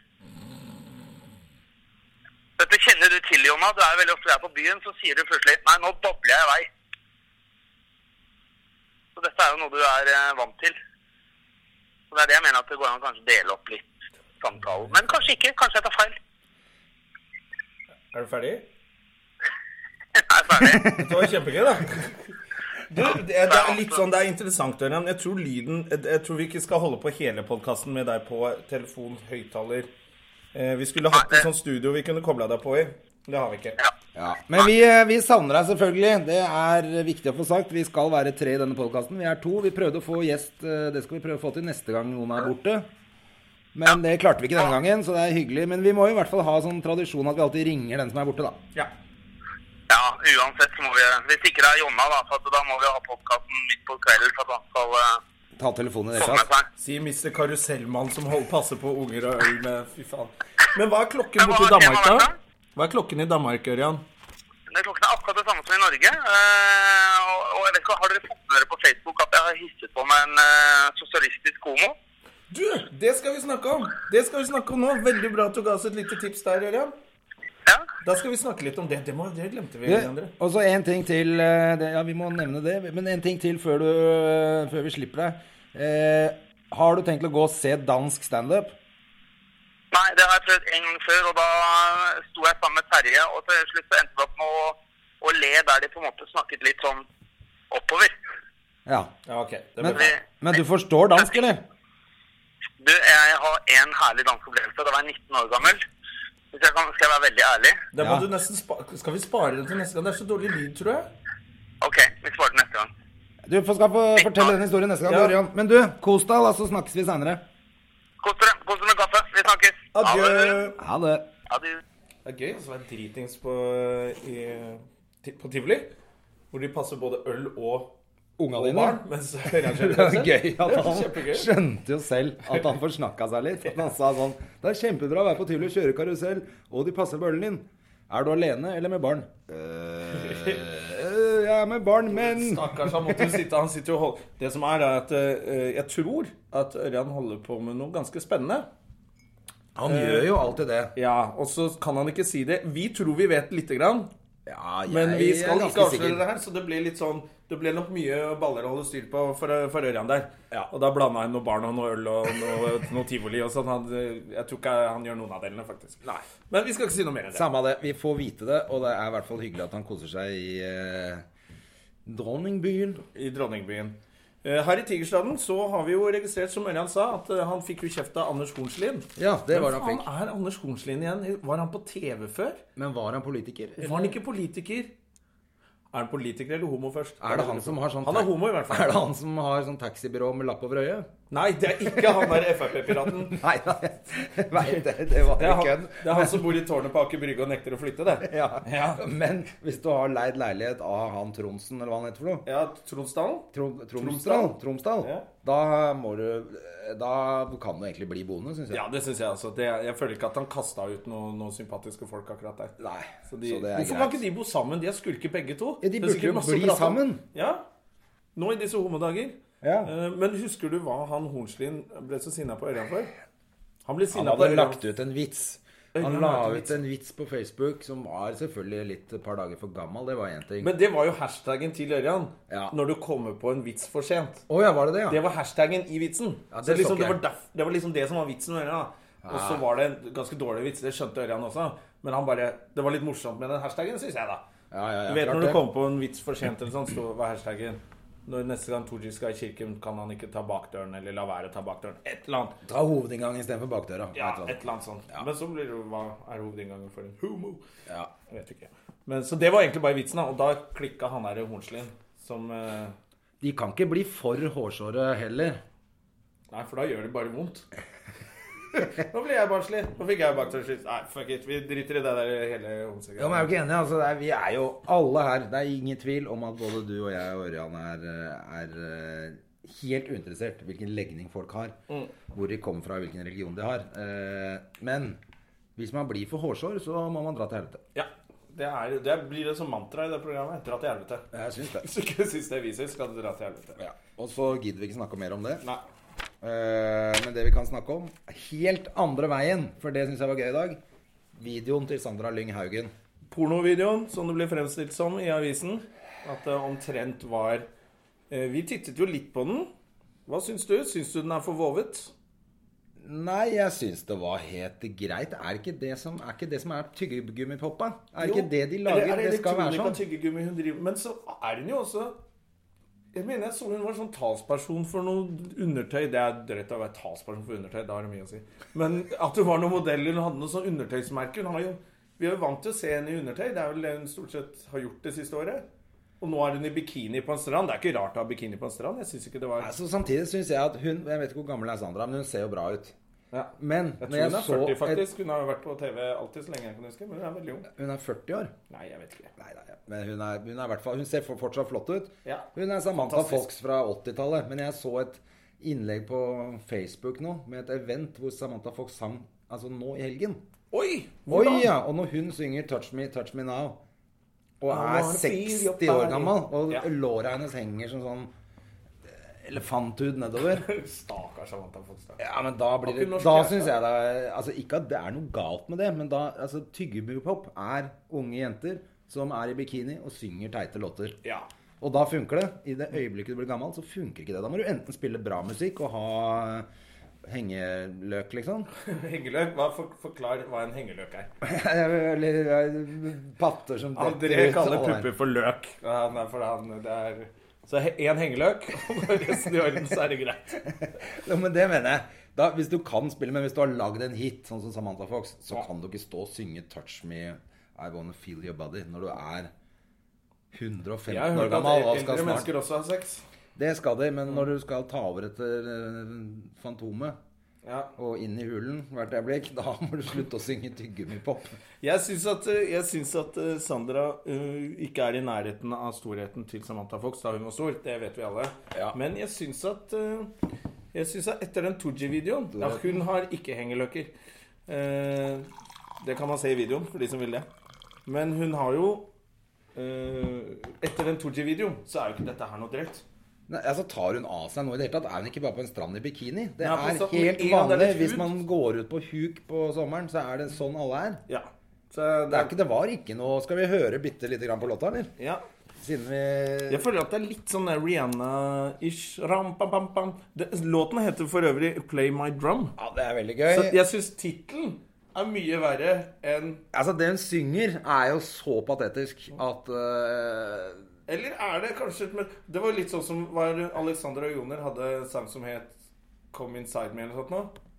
Speaker 3: Dette kjenner du til, Jonna. Du er veldig ofte der på byen, så sier du plutselig Nei, nå babler jeg i vei. Så dette er jo noe du er eh, vant til. Så det er det jeg mener at det går an å kanskje dele opp litt samtalen. Men kanskje ikke. Kanskje jeg tar feil.
Speaker 1: Er du ferdig?
Speaker 3: Jeg er ferdig.
Speaker 1: Det var kjempegøy, da. Du, det, det er litt sånn, det er interessant, Ørjan. Jeg tror lyden Jeg tror vi ikke skal holde på hele podkasten med deg på telefon, høyttaler eh, Vi skulle hatt et sånt studio vi kunne kobla deg på i. Det har vi ikke.
Speaker 2: Ja. Men vi, eh, vi savner deg selvfølgelig. Det er viktig å få sagt. Vi skal være tre i denne podkasten. Vi er to. Vi prøvde å få gjest. eh, Det skal vi prøve å få til neste gang noen er borte. Men det klarte vi ikke denne gangen, så det er hyggelig. Men vi må i hvert fall ha sånn tradisjon at vi alltid ringer den som er borte, da.
Speaker 1: Ja.
Speaker 3: Ja, uansett så må vi Hvis ikke det er Jonna, da, for at da må vi ha podkasten midt på kvelden for at han skal eh,
Speaker 2: Ta telefonen i det
Speaker 3: få
Speaker 2: hele
Speaker 3: med
Speaker 2: tatt.
Speaker 3: seg.
Speaker 1: Si Mr. Karusellmann som holder, passer på unger og øl med Fy faen. Men hva er klokken
Speaker 3: Men hva
Speaker 1: borte i
Speaker 3: har
Speaker 1: Danmark,
Speaker 3: temaet vært
Speaker 1: da?
Speaker 3: da?
Speaker 1: Hva er klokken i Danmark, Ørjan?
Speaker 3: Det er klokken er akkurat det samme som i Norge. eh, og, og jeg vet ikke, Har dere fått med dere på Facebook at jeg har hisset på meg en eh, sosialistisk homo?
Speaker 1: Du, det skal vi snakke om! Det skal vi snakke om nå. Veldig bra at du ga oss et lite tips der, Ørjan.
Speaker 3: Ja?
Speaker 1: Da skal vi snakke litt om det. Det, må, det glemte vi,
Speaker 2: Du,
Speaker 1: andre.
Speaker 2: Og så en ting til eh, det, Ja, vi må nevne det. Men en ting til før, du, eh, før vi slipper deg. Eh, har du tenkt å gå og se dansk standup?
Speaker 3: Nei, det har jeg prøvd en gang før, og da sto jeg sammen med Terje, og til slutt så endte vi opp med å, å le der de på en måte snakket litt sånn oppover.
Speaker 2: Ja.
Speaker 1: Ja, ok. Det blir
Speaker 2: Men,
Speaker 1: bra.
Speaker 2: men du forstår dansk, eller?
Speaker 3: Du, jeg har en herlig danseopplevelse. Da var jeg 19 år gammel. Hvis jeg kan, skal jeg være veldig ærlig?
Speaker 1: Da må
Speaker 2: Ja.
Speaker 1: du nesten spa Skal vi spare det til neste gang? Det er så dårlig lyd, tror jeg.
Speaker 3: Ok, vi sparer til neste gang.
Speaker 2: Du får- skal få fortelle den historien neste gang.
Speaker 1: Ja.
Speaker 2: du, Ørjan. Men du, kos deg, da, så snakkes vi seinere.
Speaker 3: Kos dere. Kos dere med kaffe. Vi snakkes.
Speaker 1: Adjø.
Speaker 3: Ha det.
Speaker 2: Ha det.
Speaker 3: Adjø.
Speaker 1: eh, Det er gøy å være dritings på, eh, i, ti- på tivoli, hvor de passer både øl og
Speaker 2: Unga
Speaker 1: og barn. Mens Ørjan kjører
Speaker 2: Det er
Speaker 1: karusell.
Speaker 2: gøy at
Speaker 1: Det er
Speaker 2: han
Speaker 1: kjempegøy.
Speaker 2: skjønte jo selv at han forsnakka seg litt. At han sa sånn Det er kjempebra å være på Tivoli og kjøre karusell, og de passer på ølen din. Er du alene eller med barn?
Speaker 1: Eh,
Speaker 2: «Øh, øh, jeg er med barn, men
Speaker 1: Stakkars, han måtte jo sitte Han sitter jo og hold- Det eh, som er, er at eh, jeg tror at Ørjan holder på med noe ganske spennende.
Speaker 2: Han gjør jo alltid det.
Speaker 1: Ja, og så kan han ikke si det. Vi tror vi vet lite grann,
Speaker 2: Ja, jeg
Speaker 1: men vi skal
Speaker 2: er ganske
Speaker 1: ikke avsløre
Speaker 2: sikker.
Speaker 1: det her, så det blir litt sånn det ble nok mye baller å holde styr på for, for Ørjan der. Og da blanda han noe barn og noe øl og noe, noe tivoli og sånn. Han, jeg tror ikke han gjør noen av delene, faktisk. Men vi skal ikke si noe mer enn det.
Speaker 2: Samme av det. Vi får vite det, og det er i hvert fall hyggelig at han koser seg i eh, Dronningbyen.
Speaker 1: i Dronningbyen. Eh, Her i Tigerstaden så har vi jo registrert, som Ørjan sa, at eh, han fikk jo kjeft av Anders Hornslien.
Speaker 2: Ja, det var det han
Speaker 1: Hvem
Speaker 2: fikk.
Speaker 1: faen er Anders Hornslien igjen? Var han på TV før?
Speaker 2: Men var han politiker?
Speaker 1: Var han ikke politiker? Er han politiker eller homo først?
Speaker 2: Er det han som har sånn
Speaker 1: Han er homo, i hvert fall.
Speaker 2: Er det han som har sånn taxibyrå med lapp over øyet?
Speaker 1: Nei, det er ikke han der Frp-piraten.
Speaker 2: Nei, nei, nei det, det var
Speaker 1: Det er,
Speaker 2: ikke
Speaker 1: han,
Speaker 2: kødd.
Speaker 1: det er han som bor i tårnet på Aker Brygge og nekter å flytte, det.
Speaker 2: Ja.
Speaker 1: Ja.
Speaker 2: Men hvis du har leid leilighet av han Tronsen, eller hva han heter for noe
Speaker 1: Ja, Tronsdalen?
Speaker 2: Trom, Tromsdal. Tromsdal.
Speaker 1: Ja.
Speaker 2: Da må du Da kan du egentlig bli boende, syns jeg.
Speaker 1: Ja, det syns jeg altså. Det, jeg føler ikke at han kasta ut noen noen sympatiske folk akkurat der.
Speaker 2: Nei,
Speaker 1: Så de,
Speaker 2: det er
Speaker 1: hvorfor kan
Speaker 2: greit.
Speaker 1: ikke de bo sammen? De har skulket begge to.
Speaker 2: Ja, de
Speaker 1: Det er
Speaker 2: burde
Speaker 1: sikkert
Speaker 2: jo
Speaker 1: masse å
Speaker 2: bli
Speaker 1: prate om.
Speaker 2: sammen.
Speaker 1: Ja. Nå i disse homodager.
Speaker 2: Ja.
Speaker 1: Eh, Men husker du hva han Hornslien ble så sinna på Ørjan for? Han ble
Speaker 2: Han
Speaker 1: sinna på
Speaker 2: hadde
Speaker 1: Ørjan.
Speaker 2: lagt ut en vits. Han
Speaker 1: Øyvind
Speaker 2: la
Speaker 1: lagde en
Speaker 2: ut en vits på Facebook som var selvfølgelig litt et par dager for gammel. Det var én ting. Å
Speaker 1: Men det var jo hashtaggen til Ørjan.
Speaker 2: Ja.
Speaker 1: Når du kommer på en vits for sent.
Speaker 2: ja, var det det, ja?
Speaker 1: Det var hashtaggen i vitsen.
Speaker 2: Ja, det
Speaker 1: så liksom,
Speaker 2: så
Speaker 1: det,
Speaker 2: ikke
Speaker 1: var
Speaker 2: jeg.
Speaker 1: derf, det var liksom det som var vitsen med Ørjan. da. Og så var det en ganske dårlig vits. Det skjønte Ørjan også. Men han bare, det var litt morsomt med den hashtaggen, syns jeg, da.
Speaker 2: Ja, ja, ja,
Speaker 1: du vet
Speaker 2: klart
Speaker 1: når du
Speaker 2: det.
Speaker 1: kommer på en vits for sent, eller sånn, så var hashtaggen når neste gang Tooji skal i kirken, kan han ikke ta bakdøren, eller la være å ta bakdøren. Et eller annet.
Speaker 2: Ta hovedinngangen istedenfor bakdøra.
Speaker 1: Ja,
Speaker 2: vet du hva.
Speaker 1: et eller annet sånt. Men så blir det jo Hva er hovedinngangen for en homo?
Speaker 2: ja.
Speaker 1: Jeg vet ikke. Men, så det var egentlig bare vitsen, da. Og da klikka han der Hornslien som eh,
Speaker 2: De kan ikke bli for hårsåre heller.
Speaker 1: Nei, for da gjør det bare vondt. Nå ble jeg barnslig. Nå fikk jeg bakdørsskyss. Nei, fuck it. Vi driter i det der hele
Speaker 2: Ja, men jeg er
Speaker 1: homsegreia.
Speaker 2: jo ikke enig. Altså, det er, vi er jo alle her. Det er ingen tvil om at både du og jeg og Ørjan er, eh, er eh, helt uinteressert i hvilken legning folk har. Hvor de kommer fra, hvilken religion de har. Eh, Men hvis man blir for hårsår, så må man dra til helvete.
Speaker 1: Ja, det, er, det blir det som mantra i det programmet. Dra til helvete.
Speaker 2: Jeg syns det.
Speaker 1: Hvis du ikke syns det viser, skal du dra til helvete.
Speaker 2: Ja. Og så gidder vi ikke snakke mer om det.
Speaker 1: Nei.
Speaker 2: Eh, Men det vi kan snakke om Helt andre veien, for det syns jeg var gøy i dag. Videoen til Sandra Lyng Haugen.
Speaker 1: Pornovideoen, som det ble fremstilt som i avisen, at det omtrent var eh, Vi tittet jo litt på den. Hva syns du? Syns du den er for vovet?
Speaker 2: Nei, jeg syns det var helt greit. Er ikke det som er, ikke det som er tyggegummipoppa? Er ikke det de lager?
Speaker 1: Eller er
Speaker 2: Det, skal være
Speaker 1: elektronika,
Speaker 2: sånn.
Speaker 1: tyggegummi hun driver Men så er hun jo også Jeg mener jeg så hun var sånn talsperson for noe undertøy. Det er drøyt å være talsperson for undertøy, da har det mye å si. Men at hun var noen modeller, hun hadde noe sånn undertøysmerke hun har jo, Vi er jo vant til å se henne i undertøy. Det er vel det hun stort sett har gjort det siste året. Og nå er hun i bikini på en strand. Det er ikke rart å ha bikini på en strand. Jeg synes ikke det var
Speaker 2: Altså, samtidig syns jeg at hun Jeg vet ikke hvor gammel er Sandra, men hun ser jo bra ut.
Speaker 1: ja.
Speaker 2: Men
Speaker 1: Jeg tror
Speaker 2: når
Speaker 1: hun
Speaker 2: jeg
Speaker 1: er
Speaker 2: så
Speaker 1: 40,
Speaker 2: et,
Speaker 1: faktisk. Hun har jo vært på TV alltid så lenge jeg kan huske. Men hun er veldig ung.
Speaker 2: Hun er 40 år.
Speaker 1: Nei, jeg vet ikke.
Speaker 2: Nei, nei, men hun er, hun er i hvert fall Hun ser for- fortsatt flott ut.
Speaker 1: Ja.
Speaker 2: Hun er Samantha
Speaker 1: Fantastisk.
Speaker 2: Fox fra 80-tallet. Men jeg så et innlegg på Facebook nå med et event hvor Samantha Fox sang Altså nå i helgen.
Speaker 1: Oi!
Speaker 2: Oi,
Speaker 1: hvordan?
Speaker 2: ja! Og når hun synger 'Touch Me, Touch Me Now', og
Speaker 1: I
Speaker 2: er
Speaker 1: wanna feel
Speaker 2: 60
Speaker 1: your
Speaker 2: år
Speaker 1: body.
Speaker 2: gammel, og
Speaker 1: Ja.
Speaker 2: låra hennes henger som sånn eh, elefanthud nedover
Speaker 1: Stakkars Samantha Fogstad.
Speaker 2: ja, men da blir
Speaker 1: Har
Speaker 2: det
Speaker 1: ikke norsk
Speaker 2: Da
Speaker 1: hjerte.
Speaker 2: syns jeg det er Altså, ikke at det er noe galt med det, men da Altså, tyggebuepop er unge jenter som er i bikini og synger teite låter.
Speaker 1: Ja.
Speaker 2: Og da funker det. I det øyeblikket du blir gammel, så funker ikke det. Da må du enten spille bra musikk og ha eh, hengeløk, liksom.
Speaker 1: Hengeløk? Hva, for, forklar hva en hengeløk er.
Speaker 2: Eller eh, patter som
Speaker 1: André kaller
Speaker 2: og-
Speaker 1: pupper for løk. Ja, Han er for han, det er... Så én hengeløk, og resten i orden, så er det greit.
Speaker 2: Ja, men det mener jeg. Da, hvis du kan spille, men hvis du har lagd en hit, sånn som Samantha Fox, så kan du ikke stå og synge 'Touch Me I Wanna Feel Your Body' når du er 115
Speaker 1: Jeg har
Speaker 2: år
Speaker 1: hørt at e-
Speaker 2: gammel og
Speaker 1: eldre
Speaker 2: skal snart
Speaker 1: mennesker også har sex.
Speaker 2: Det skal de, men når du skal ta over etter eh, Fantomet
Speaker 1: Ja.
Speaker 2: og inn i hulen hvert øyeblikk, da må du slutte å synge tyggegummipop.
Speaker 1: Jeg syns at, jeg syns at eh, Sandra eh, ikke er i nærheten av storheten til Samantha Fox da hun var stor. Det vet vi alle.
Speaker 2: Ja.
Speaker 1: Men jeg syns at eh, Jeg syns at etter den Tooji-videoen ja, Hun har ikke hengeløkker. Eh, det kan man se i videoen, for de som vil det. Men hun har jo eh, Etter den Tooji-videoen så er jo ikke dette her noe drøyt.
Speaker 2: Nei, altså Tar hun av seg noe i det hele tatt? Er hun ikke bare på en strand i bikini? Det
Speaker 1: Nei, på
Speaker 2: er
Speaker 1: stranden,
Speaker 2: helt
Speaker 1: en av
Speaker 2: vanlig.
Speaker 1: deres
Speaker 2: Hvis
Speaker 1: hud.
Speaker 2: man går ut på huk på sommeren, så er det sånn alle er.
Speaker 1: Ja. Så det er
Speaker 2: Det, er
Speaker 1: ikke
Speaker 2: ikke, det var ikke noe Skal vi høre bitte lite grann på låta, eller?
Speaker 1: Ja.
Speaker 2: Siden vi
Speaker 1: Jeg føler at det er litt sånn der Rihanna-ish. Ram, pam, pam, pam. Det, låten heter for øvrig 'Play My Drum'.
Speaker 2: Ja, det er veldig gøy.
Speaker 1: Så jeg syns tittelen er mye verre enn
Speaker 2: Altså, det hun synger, er jo så patetisk at eh,
Speaker 1: Eller er det kanskje men Det var litt sånn som var Alexandra Joner hadde en sang som het 'Come Inside Me' eller noe sånt. nå.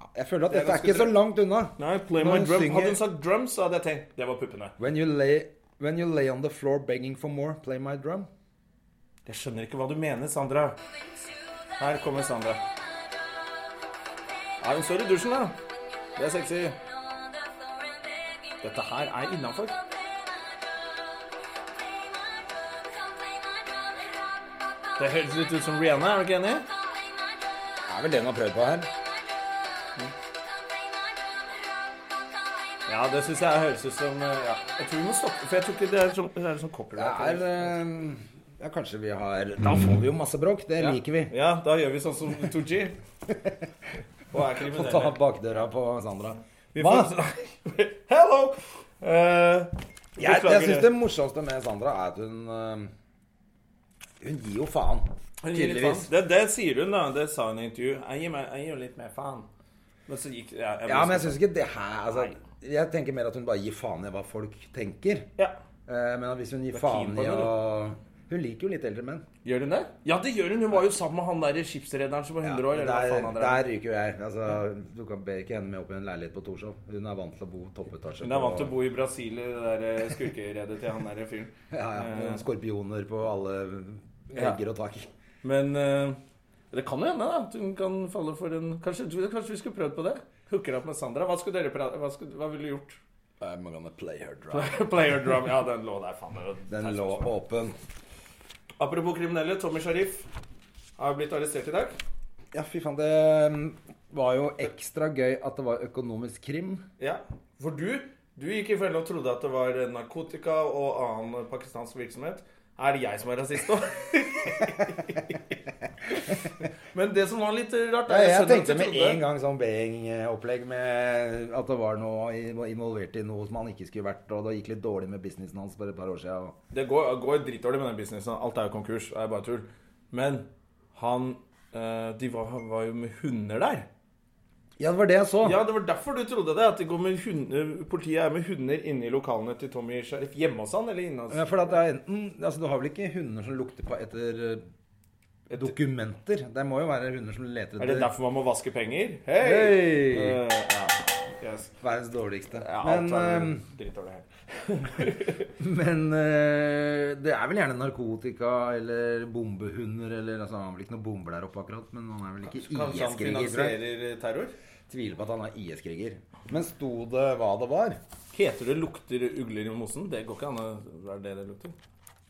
Speaker 2: ja, Jeg føler at
Speaker 1: Det er
Speaker 2: dette er
Speaker 1: ganske
Speaker 2: ikke så
Speaker 1: drø-
Speaker 2: langt unna.
Speaker 1: Nei, play
Speaker 2: Når
Speaker 1: my
Speaker 2: hun
Speaker 1: drum.
Speaker 2: synger-
Speaker 1: Hadde hun sagt drum, så hadde jeg tenkt det var puppene.
Speaker 2: When you, lay, when you lay on the floor begging for more, play my drum.
Speaker 1: Jeg skjønner ikke hva du mener, Sandra. Her kommer Sandra. Ja, hun står i dusjen, da. Det er sexy. Dette her er innafor. Det høres litt ut som Rihanna, er du ikke enig?
Speaker 2: Det er vel det hun har prøvd på her.
Speaker 1: Ja, det syns jeg høres ut som eh, ja. Jeg tror vi må stoppe, for jeg tror ikke det er sånn, det er sånn
Speaker 2: Det
Speaker 1: copyright.
Speaker 2: er eh, Ja, kanskje vi har Da får vi jo masse bråk. Det liker vi.
Speaker 1: Ja, da gjør vi sånn som 2G. Og er
Speaker 2: Få ta
Speaker 1: kriminelle.
Speaker 2: bakdøra på Sandra.
Speaker 1: Vi
Speaker 2: Hva?
Speaker 1: får- Hello! Eh,
Speaker 2: Jeg,
Speaker 1: beklager
Speaker 2: jeg syns det morsomste med Sandra er at hun eh, Hun gir jo faen.
Speaker 1: Hun gir litt
Speaker 2: Tydeligvis.
Speaker 1: faen. Det, det sier hun, da. Det sa hun i intervju. Jeg gir, meg, jeg gir jo litt mer faen. Men så gikk ja,
Speaker 2: Ja, men jeg
Speaker 1: sånn.
Speaker 2: syns ikke det her altså, Jeg tenker mer at hun bare gir faen i hva folk tenker.
Speaker 1: ja.
Speaker 2: Eh, Men hvis hun gir
Speaker 1: er keen
Speaker 2: faen
Speaker 1: på
Speaker 2: i
Speaker 1: det,
Speaker 2: å Hun liker jo litt eldre menn.
Speaker 1: Gjør hun det? Ja, det gjør hun! Hun var jo sammen med han der skipsrederen som var 100 år. Eller hva
Speaker 2: der,
Speaker 1: faen han
Speaker 2: der
Speaker 1: er.
Speaker 2: ryker jo jeg. Altså, du kan be ikke henne med opp i en leilighet på Torshov. Hun er vant til å bo toppetasje.
Speaker 1: Hun er vant
Speaker 2: på-
Speaker 1: til å bo i Brasil, i det der eh, skurkeredet til han der fyren.
Speaker 2: ja, ja,
Speaker 1: Eh,
Speaker 2: Skorpioner på alle
Speaker 1: Ja.
Speaker 2: vegger og tak.
Speaker 1: Men eh, det kan jo hende da, at hun kan falle for en Kanskje, kanskje vi skulle prøvd på det? Hooker opp med Sandra. Hva skulle dere prate Hva, skulle, hva ville du gjort?
Speaker 2: I'm gonna play her dry.
Speaker 1: Player drum. Ja, den lå der, faen. det var-
Speaker 2: Den lå åpen.
Speaker 1: Apropos kriminelle. Tommy Sharif har blitt arrestert i dag.
Speaker 2: Ja, fy faen. Det mm, var jo ekstra gøy at det var økonomisk krim.
Speaker 1: Ja. For du, du gikk i fella og trodde at det var narkotika og annen pakistansk virksomhet. Er det jeg som er rasist nå? Men det som var litt rart
Speaker 2: Ja,
Speaker 1: er,
Speaker 2: jeg
Speaker 1: skjønner at du
Speaker 2: tenkte med
Speaker 1: trodde-
Speaker 2: en gang sånn Beheng-opplegg med at det var noe i- var involvert i noe som han ikke skulle vært, og det gikk litt dårlig med businessen hans for et par år siden. og-
Speaker 1: Det går, går dritdårlig med den businessen. Alt er jo konkurs. Det er bare tull. Men han eh, De var, var jo med hunder der.
Speaker 2: Ja, det var det jeg så.
Speaker 1: Ja, Det var derfor du trodde det. At de går med hunder, politiet er med hunder inne i lokalene til Tommy Sheriff. Hjemme hos han, eller inne hos
Speaker 2: Ja, For at det er enten Altså, du har vel ikke hunder som lukter på etter eh, dokumenter? Det må jo være hunder som leter
Speaker 1: Er det
Speaker 2: etter
Speaker 1: derfor man må vaske penger? Hei!
Speaker 2: Hei!
Speaker 1: Eh, ja. Yes.
Speaker 2: verdens dårligste.
Speaker 1: Ja,
Speaker 2: men
Speaker 1: alt er
Speaker 2: eh,
Speaker 1: dritdårlig her.
Speaker 2: men eh, det er vel gjerne narkotika eller bombehunder eller altså, Han har vel ikke noen bomber der oppe akkurat, men han er vel
Speaker 1: Kanskje
Speaker 2: ikke
Speaker 1: han
Speaker 2: IS-kriger, tror jeg.
Speaker 1: finansierer eh, terror?
Speaker 2: Tviler på at han er IS-kriger. Men sto det hva det var?
Speaker 1: Heter det 'lukter ugler i mosen'? Det går ikke an å Hva er det det lukter?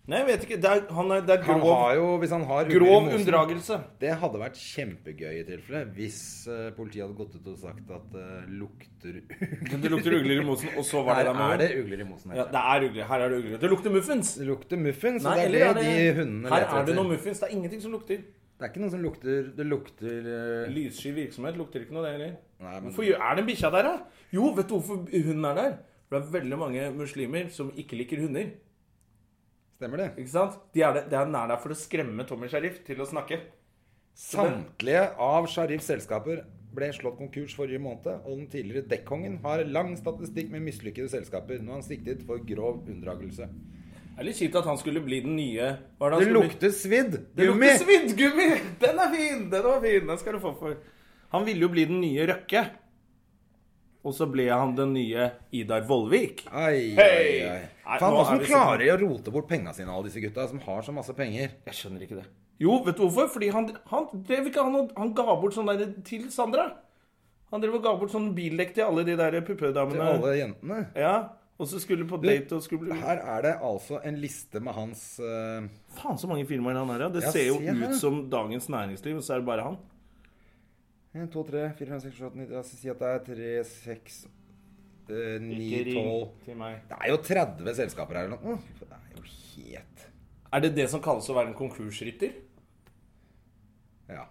Speaker 1: Nei, jeg vet ikke. Det er, han er, det er
Speaker 2: Han
Speaker 1: grov,
Speaker 2: har jo, hvis han har hunder i
Speaker 1: grov
Speaker 2: mosen-
Speaker 1: unndragelse.
Speaker 2: Det hadde vært kjempegøy i tilfelle hvis eh, politiet hadde gått ut og sagt at det lukter
Speaker 1: Det lukter ugler i mosen, og så var
Speaker 2: Her
Speaker 1: det der med
Speaker 2: er
Speaker 1: hund.
Speaker 2: det ugler i mosen.
Speaker 1: Ja,
Speaker 2: heter det.
Speaker 1: det er ugler. Her er det ugler. Det lukter muffins.
Speaker 2: Det lukter muffins,
Speaker 1: Nei,
Speaker 2: og det
Speaker 1: eller
Speaker 2: er
Speaker 1: er
Speaker 2: det,
Speaker 1: det-
Speaker 2: de hundene
Speaker 1: Her
Speaker 2: leter
Speaker 1: er det noe
Speaker 2: etter.
Speaker 1: muffins. Det er ingenting som lukter.
Speaker 2: Det er ikke noe som lukter Det lukter eh,
Speaker 1: Lyssky virksomhet lukter ikke noe, det heller.
Speaker 2: Nei, men-
Speaker 1: Hvorfor gjør- er den bikkja der, da? Jo, vet du hvorfor hunden er der? For det er veldig mange muslimer som ikke liker hunder.
Speaker 2: Stemmer det?
Speaker 1: Ikke sant? De er, der- de er nær der for å skremme Tommy Sharif til å snakke.
Speaker 2: Samtlige av Sharifs selskaper ble slått konkurs forrige måned, og den tidligere dekkongen har lang statistikk med mislykkede selskaper. Nå er han siktet for grov unndragelse.
Speaker 1: Det er litt kjipt at han skulle bli den nye Hva er det han
Speaker 2: Det
Speaker 1: skulle bli?
Speaker 2: lukter svidd!
Speaker 1: Altså, Det
Speaker 2: Gummi!
Speaker 1: lukter sviddgummi! Den er fin! Den var fin, den skal du få for. Han ville jo bli den nye Røkke. Og så ble han den nye Idar Vollvik.
Speaker 2: Ai, ai,
Speaker 1: Hei!
Speaker 2: ai.
Speaker 1: Nei,
Speaker 2: Faen,
Speaker 1: nå er
Speaker 2: åssen
Speaker 1: vi sånn. så-
Speaker 2: klarer de å rote bort penga sine, alle disse gutta som har så masse penger?
Speaker 1: Jeg skjønner ikke det. Jo, vet du hvorfor? Fordi han, han drev ikke han, og- han ga bort sånn der til Sandra. Han drev og ga bort sånn bildekk til alle de der
Speaker 2: Til
Speaker 1: puppedamene.
Speaker 2: alle jentene?
Speaker 1: Ja, og så skulle på date og skulle bli
Speaker 2: Her er det altså en liste med hans eh,
Speaker 1: Faen så mange filmer han har, ja. Det
Speaker 2: Ja,
Speaker 1: ser jo
Speaker 2: se her.
Speaker 1: ut som Dagens Næringsliv, og så er det bare han.
Speaker 2: 1, 2, 3, 4, 5, 6, 7, 8, 9 altså, Si at det er 3, 6, eh, 9,
Speaker 1: Ikke ring
Speaker 2: 12
Speaker 1: til meg.
Speaker 2: Det er jo 30 selskaper her eller noe. Åh, Det er jo helt
Speaker 1: Er det det som kalles å være en konkursrytter?
Speaker 2: Ja,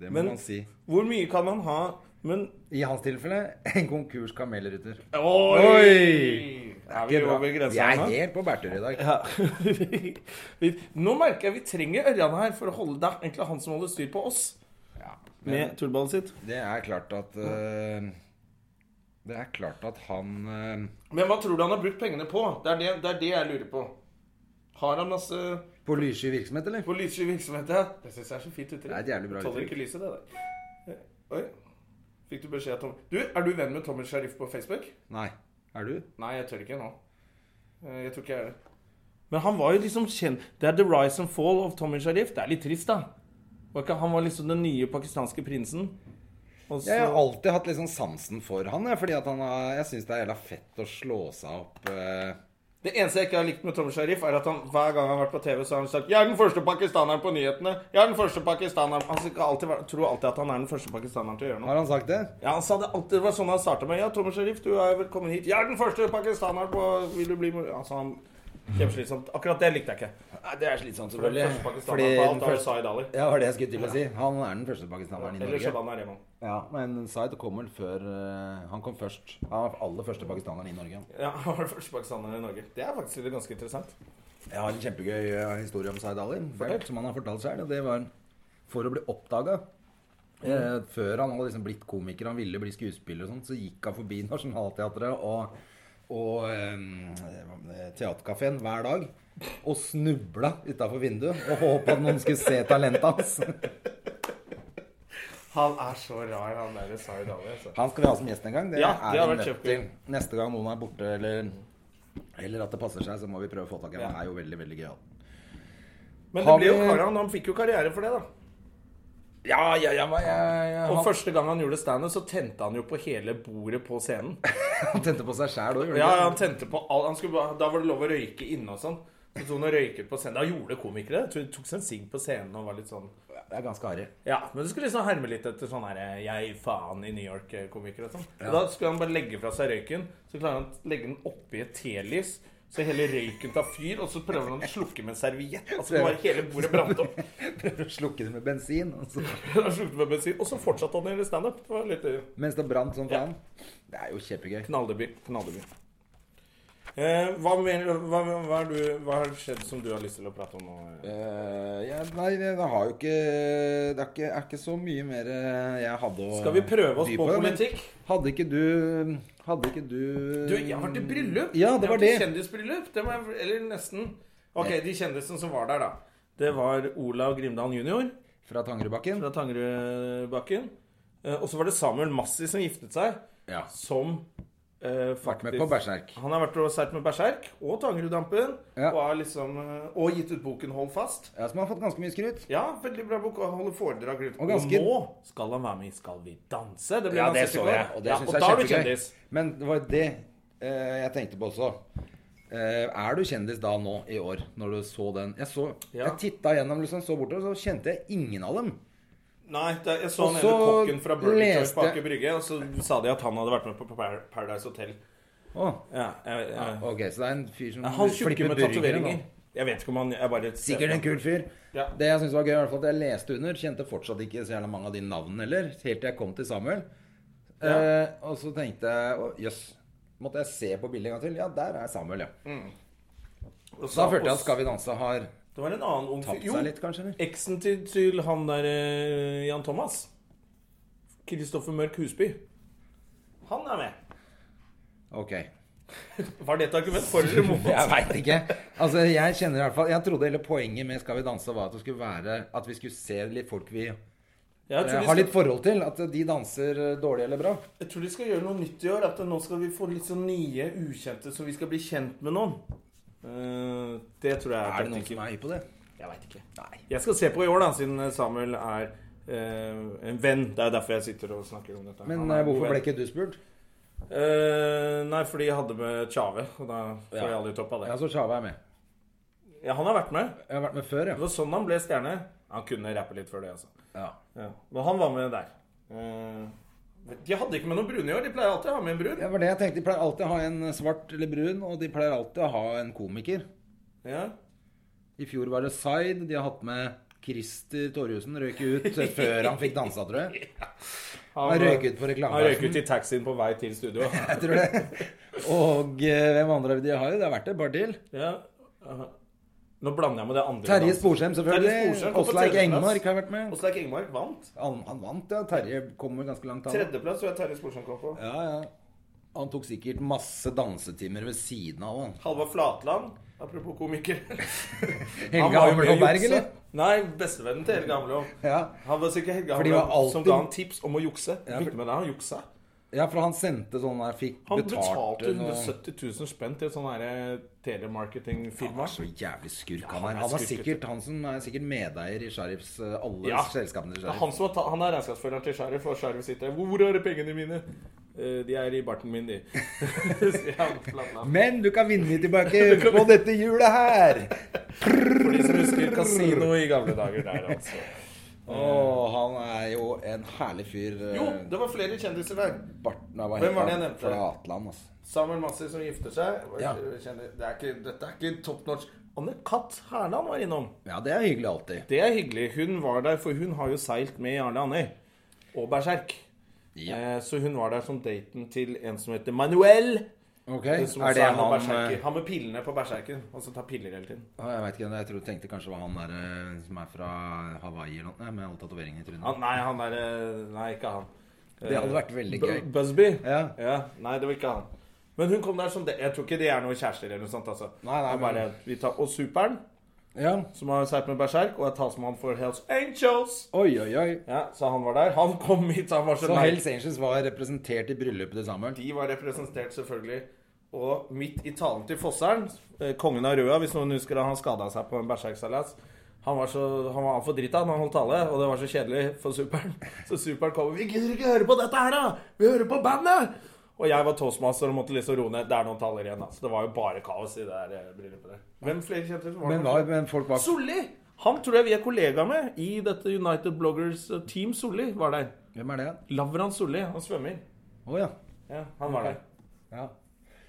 Speaker 2: det må
Speaker 1: Men-
Speaker 2: man si.
Speaker 1: Hvor mye kan man ha Men
Speaker 2: I hans tilfelle en konkurs kamelrytter.
Speaker 1: Oi!
Speaker 2: Oi!
Speaker 1: Er vi
Speaker 2: Ikke bra.
Speaker 1: over
Speaker 2: Vi
Speaker 1: grensa
Speaker 2: er
Speaker 1: nå?
Speaker 2: helt på bærtur i dag.
Speaker 1: Ja. vi, nå merker jeg vi trenger Ørjan her for å holde Det er egentlig han som holder styr på oss
Speaker 2: Ja.
Speaker 1: med tullballet sitt.
Speaker 2: Det er klart at eh, Det er klart at han eh,
Speaker 1: Men hva tror du han har brukt pengene på? Det er det, det, er det jeg lurer på. Har han masse
Speaker 2: På lyssky virksomhet, eller?
Speaker 1: på lyssky virksomhet? Ja. Det syns jeg er så fint uttrykk.
Speaker 2: Det er et jævlig bra
Speaker 1: Tåler
Speaker 2: uttrykk.
Speaker 1: ikke lyset, det der. Eh, Oi. Fikk du beskjed av Tom Du, er du venn med Tommy Sharif på Facebook?
Speaker 2: Nei. Er du?
Speaker 1: Nei, jeg tør ikke nå. Eh, Jeg tror ikke jeg er det. Men han var jo liksom kjent Det er the rise and fall of Tommy Sharif. Det er litt trist, da. Var ikke- Han var liksom den nye pakistanske prinsen. Og så-
Speaker 2: Jeg har alltid hatt liksom sansen for han, jeg, fordi at han har, jeg syns det er jævla fett å slå seg opp eh,
Speaker 1: Det eneste jeg ikke har likt med Tommy Sharif, er at han hver gang han har vært på TV, så har han sagt 'Jeg er den første pakistaneren på nyhetene'. Jeg er den første pakistaneren Han skal alltid være, tror alltid at han er den første pakistaneren til å gjøre noe.
Speaker 2: Har han sagt det?
Speaker 1: Ja, han sa det alltid. Det var sånn han starta med. 'Ja, Tommy Sharif, du er velkommen hit'. 'Jeg er den første pakistaneren på Vil du bli mor...' Altså, han Kjempeslitsomt. Akkurat det likte jeg ikke.
Speaker 2: Nei, det er slitsomt,
Speaker 1: Den første pakistaneren på alt er Zaid Ali.
Speaker 2: Ja, var det jeg skulle til å si. Han er den første pakistaneren i
Speaker 1: Eller
Speaker 2: Norge.
Speaker 1: Shabana Rehman.
Speaker 2: Ja, Men Zaid kom vel før eh, Han kom først. Han var aller første pakistaneren i Norge.
Speaker 1: Ja, han var den første pakistaneren i Norge. Det er faktisk litt ganske interessant.
Speaker 2: Jeg har en kjempegøy eh, historie om Zaid Ali,
Speaker 1: Fortell.
Speaker 2: som han har fortalt sjøl. Det var for å bli oppdaga. Eh, før han hadde liksom blitt komiker, han ville bli skuespiller og sånn, så gikk han forbi Nationaltheatret og, og eh, Theatercaféen hver dag. Og snubla utafor vinduet og håpa at noen skulle se talentet hans.
Speaker 1: Han er så rar, han der Zaid Ali. Altså.
Speaker 2: Han skal vi ha som gjest en gang. Det
Speaker 1: Ja,
Speaker 2: er
Speaker 1: det har
Speaker 2: vi
Speaker 1: vært
Speaker 2: nødt til. Neste gang noen er borte, eller, eller at det passer seg, så må vi prøve å få tak i ham.
Speaker 1: Ja.
Speaker 2: Han er jo veldig, veldig gøyal.
Speaker 1: Men
Speaker 2: Har
Speaker 1: det ble jo
Speaker 2: vi-
Speaker 1: Karan. Han fikk jo karriere for det, da.
Speaker 2: Ja, ja, ja, ja, ja.
Speaker 1: Og
Speaker 2: Han,
Speaker 1: første gang han gjorde standup, så tente han jo på hele bordet på scenen.
Speaker 2: han tente på seg sjæl òg, gjorde
Speaker 1: Ja,
Speaker 2: han ikke?
Speaker 1: han tente på all, han skulle, bare- Da var det lov å røyke inne og sånn. Så sto han og røyket på scenen. Da gjorde komikere det. Tok seg en sigg på scenen og var litt sånn
Speaker 2: Det er ganske harry.
Speaker 1: Ja, men du skulle liksom herme litt etter sånn herre Jeg faen i New York-komikere og sånn. Og Da skulle han bare legge fra seg røyken. Så klarer han å legge den oppi et telys. Så hele røyken tar fyr, og så prøver han å slukke med en serviett. Altså det var hele bordet brant opp.
Speaker 2: Prøver å slukke det med bensin. Og så.
Speaker 1: Han slukte med bensin, og så fortsatte han å gjøre standup. Det var litt eh,
Speaker 2: Mens det brant sånn
Speaker 1: Ja.
Speaker 2: faen. Det er jo kjempegøy.
Speaker 1: Knalldeby. Knalldeby. Eh, hva, mener, hva, hva, hva, er du, hva har skjedd som du har lyst til å prate om nå?
Speaker 2: Eh, ja, nei, det det har jo ikke Det er ikke, er ikke så mye mer eh, jeg hadde å
Speaker 1: Skal vi prøve oss
Speaker 2: by
Speaker 1: på
Speaker 2: men
Speaker 1: politikk?
Speaker 2: Hadde ikke du Hadde ikke du
Speaker 1: Du, jeg har vært i bryllup. Jeg
Speaker 2: Ja, det
Speaker 1: har
Speaker 2: var
Speaker 1: vært i
Speaker 2: det.
Speaker 1: Kjendisbryllup. Det må jeg, eller nesten. Ok, de kjendisene som var der, da. Det var Olav Grimdal jr.
Speaker 2: Fra Tangerudbakken?
Speaker 1: fra Tangerudbakken. Eh, og så var det Samuel Massi som giftet seg,
Speaker 2: Ja.
Speaker 1: som eh,
Speaker 2: Vært
Speaker 1: faktisk
Speaker 2: med på Berserk.
Speaker 1: Han har vært og seilt med Berserk og Tangeruddampen.
Speaker 2: Ja.
Speaker 1: Og, er liksom, eh, og gitt ut boken Hold fast.
Speaker 2: Ja, som har fått ganske mye skryt.
Speaker 1: Ja, veldig bra bok. Og holder foredrag rundt.
Speaker 2: Og
Speaker 1: Og,
Speaker 2: ganske-
Speaker 1: nå skal han være med i Skal vi danse. Det blir
Speaker 2: Ja,
Speaker 1: hans
Speaker 2: det
Speaker 1: siste
Speaker 2: så
Speaker 1: gang.
Speaker 2: jeg, og det
Speaker 1: ja,
Speaker 2: syns
Speaker 1: og
Speaker 2: jeg
Speaker 1: da
Speaker 2: er
Speaker 1: er du
Speaker 2: kjempegøy.
Speaker 1: kjendis.
Speaker 2: Men det var det eh, jeg tenkte på også. Eh, er du kjendis da nå i år, når du så den? Jeg så,
Speaker 1: Ja.
Speaker 2: jeg titta gjennom, liksom, så bortover, så kjente jeg ingen av dem.
Speaker 1: Nei, det, jeg så
Speaker 2: Og
Speaker 1: han ene
Speaker 2: så
Speaker 1: kokken fra Burger Choice på
Speaker 2: leste-
Speaker 1: Aker Brygge, og så sa de at han hadde vært med på Par- Paradise Hotel.
Speaker 2: Å,
Speaker 1: Ja, jeg, jeg,
Speaker 2: ok, så det er en fyr som
Speaker 1: han tjukke med
Speaker 2: burgere nå.
Speaker 1: tatoveringer. Jeg vet ikke om han jeg bare
Speaker 2: Sikkert en kul fyr.
Speaker 1: Ja.
Speaker 2: Det jeg synes var gøy, i hvert fall at jeg leste under, kjente fortsatt ikke så jævla mange av de navnene heller, helt til jeg kom til Samuel. Eh, og så tenkte jeg å, jøss. Måtte jeg se på bildet en gang til? Ja, der er Samuel, ja.
Speaker 1: Mm. Og
Speaker 2: Så da
Speaker 1: så-
Speaker 2: følte jeg at Skal vi danse har
Speaker 1: Det var en annen ung fyr.
Speaker 2: tapt
Speaker 1: Jo,
Speaker 2: seg litt, kanskje? eller?
Speaker 1: eksen til, til han der eh, Jan Thomas. Kristoffer Mørk Husby. Han er med.
Speaker 2: Ok.
Speaker 1: Var det et argument for eller mot?
Speaker 2: Jeg veit ikke. Altså, jeg kjenner i hvert fall Jeg trodde hele poenget med Skal vi danse var at det skulle være At vi skulle se litt folk vi eh,
Speaker 1: Jeg tror de
Speaker 2: har
Speaker 1: skal-
Speaker 2: litt forhold til. At de danser eh, dårlig eller bra.
Speaker 1: Jeg tror de skal gjøre noe nytt i år. At nå skal vi få litt sånn nye ukjente, så vi skal bli kjent med noen. Eh, det tror jeg
Speaker 2: Er det noen
Speaker 1: taktikken.
Speaker 2: som er hypp på det?
Speaker 1: Jeg veit ikke.
Speaker 2: Nei.
Speaker 1: Jeg skal se på i år, da, siden Samuel er eh, en venn. Det er derfor jeg sitter og snakker om dette.
Speaker 2: Men
Speaker 1: Han er
Speaker 2: eh,
Speaker 1: en god
Speaker 2: hvorfor
Speaker 1: venn.
Speaker 2: ble ikke du spurt?
Speaker 1: Eh, Nei, fordi jeg hadde med Tjave, og da får
Speaker 2: Ja.
Speaker 1: jeg aldri topp av det.
Speaker 2: Ja, så Sjava er med.
Speaker 1: Ja, han har vært med.
Speaker 2: Jeg har vært med før,
Speaker 1: Det var sånn han ble stjerne. Han kunne rappe litt før det, altså.
Speaker 2: ja. ja.
Speaker 1: Ja. Men han var med der. Eh, de hadde ikke med noen brune i år. De pleier alltid å ha med en brun.
Speaker 2: Det var det jeg tenkte. De pleier alltid å ha en svart eller brun, og de pleier alltid å ha en komiker.
Speaker 1: Ja.
Speaker 2: I fjor var det Zaid. De har hatt med Christer Torjussen røyk jo ut før han fikk dansa, tror jeg.
Speaker 1: Han,
Speaker 2: Han røyk ut på
Speaker 1: Han røyk
Speaker 2: reklameplassen.
Speaker 1: ut i taxien på vei til studio.
Speaker 2: Jeg tror det. Og eh, hvem andre de har jo? Det har vært et par til.
Speaker 1: Ja. aha. Nå blander jeg med det andre.
Speaker 2: Terje Sporsem, selvfølgelig.
Speaker 1: Sporsem kom på
Speaker 2: Åsleik
Speaker 1: tredjeplass.
Speaker 2: Engmark har vært med.
Speaker 1: Åsleik Engmark vant.
Speaker 2: Han, han vant, ja. Terje kommer ganske langt an.
Speaker 1: Tredjeplass tror jeg Terje Sporsem kom på.
Speaker 2: Ja, ja. Han tok sikkert masse dansetimer ved siden av, han.
Speaker 1: Halvard Flatland. Apropos komiker.
Speaker 2: Helge
Speaker 1: var jo
Speaker 2: Hammerlov
Speaker 1: med i
Speaker 2: Berg,
Speaker 1: jukse.
Speaker 2: eller?
Speaker 1: Nei, bestevennen til Helge Hammerlov.
Speaker 2: Ja.
Speaker 1: Han var sikkert Helge
Speaker 2: For de
Speaker 1: Hammerlov
Speaker 2: var alltid-
Speaker 1: som ga han tips om å jukse.
Speaker 2: Ja,
Speaker 1: Fikk
Speaker 2: for-
Speaker 1: du med deg han juksa?
Speaker 2: ja, for han sendte sånn der Fikk
Speaker 1: Han
Speaker 2: betalt sånn-
Speaker 1: betalte
Speaker 2: noe-
Speaker 1: 170 000 spenn til et sånn her
Speaker 2: Han var
Speaker 1: telemarketingfirma.
Speaker 2: så jævlig skurk,
Speaker 1: han
Speaker 2: han her.
Speaker 1: er
Speaker 2: Han var
Speaker 1: skurk,
Speaker 2: sikkert han som er sikkert medeier i sheriffs eh, Alle
Speaker 1: Ja.
Speaker 2: selskapene til
Speaker 1: Det er
Speaker 2: sheriff.
Speaker 1: han, som har ta, han er regnskapsføreren til sheriff, og sheriff sitter der. 'Hvor er pengene mine?' «Eh, 'De er i barten min, de'. Sier han Flatland.
Speaker 2: Men du kan vinne tilbake på dette hjulet her!
Speaker 1: For de som husker kasino i gamle dager der, altså.
Speaker 2: Å, han er jo en herlig fyr. eh,
Speaker 1: Jo, det var flere kjendiser der.
Speaker 2: Barten, nei, hva
Speaker 1: Hvem
Speaker 2: heter
Speaker 1: var det
Speaker 2: han?
Speaker 1: jeg nevnte?
Speaker 2: Flatland, altså.
Speaker 1: Samuel Massi som gifter seg. var
Speaker 2: Ja.
Speaker 1: kjendis. Det er ikke, dette er ikke top notch. Anne Katt Herland var innom.
Speaker 2: Ja, det er hyggelig alltid.
Speaker 1: Det er hyggelig. Hun var der, for hun har jo seilt med Jarle Anni og Berserk.
Speaker 2: Ja.
Speaker 1: Eh, Så hun var der som daten til en som heter Manuel. eh,
Speaker 2: Ok,
Speaker 1: Som
Speaker 2: er
Speaker 1: også
Speaker 2: det
Speaker 1: er noen
Speaker 2: han eh,
Speaker 1: berserker. Han med pillene på berserken. Han som tar piller hele tiden.
Speaker 2: Å, Jeg vet ikke, jeg tror, tenkte kanskje det var han der eh, som er fra Hawaii eller noe, nei, med alle tatoveringene i trynet.
Speaker 1: Han, nei, han er eh, Nei, ikke han.
Speaker 2: Det hadde vært veldig gøy.
Speaker 1: Bu- Busby?
Speaker 2: Ja.
Speaker 1: Nei, det var ikke han. Men hun kom der som det. Jeg tror ikke de er noen kjærester eller noe sånt. altså.
Speaker 2: Nei, nei,
Speaker 1: Det er bare, vi tar, Og Superen,
Speaker 2: Ja.
Speaker 1: som har seilt med Berserk, og er talsmann for Hells Angels.
Speaker 2: Oi, oi, oi.
Speaker 1: Ja, Så han var der. Han kom hit, han var så
Speaker 2: Så
Speaker 1: lei.
Speaker 2: Hells Angels var representert i bryllupet til Samuel.
Speaker 1: De var representert, selvfølgelig. Og midt i talen til Fosseren, eh, kongen av Røa, hvis noen husker det, han skada seg på en berserksalas. Han var, så, han var for drita når han holdt tale, og det var så kjedelig for Superen. Så Superen kom og 'Vi gidder ikke høre på dette her, da! Vi hører på bandet!' Og jeg var toastmaster og måtte liksom roe ned. Det er noen taler igjen, da. Så det var jo bare kaos i det der eh, bryllupet der. Hvem flere kjente som var
Speaker 2: Men,
Speaker 1: der?
Speaker 2: hva- men folk var
Speaker 1: Solli! Han tror jeg vi er kollegaer med i dette United Bloggers eh, Team Solli var der.
Speaker 2: Hvem er det?
Speaker 1: Lavran Solli, han svømmer.
Speaker 2: Å ja.
Speaker 1: Ja, han var der.
Speaker 2: ja.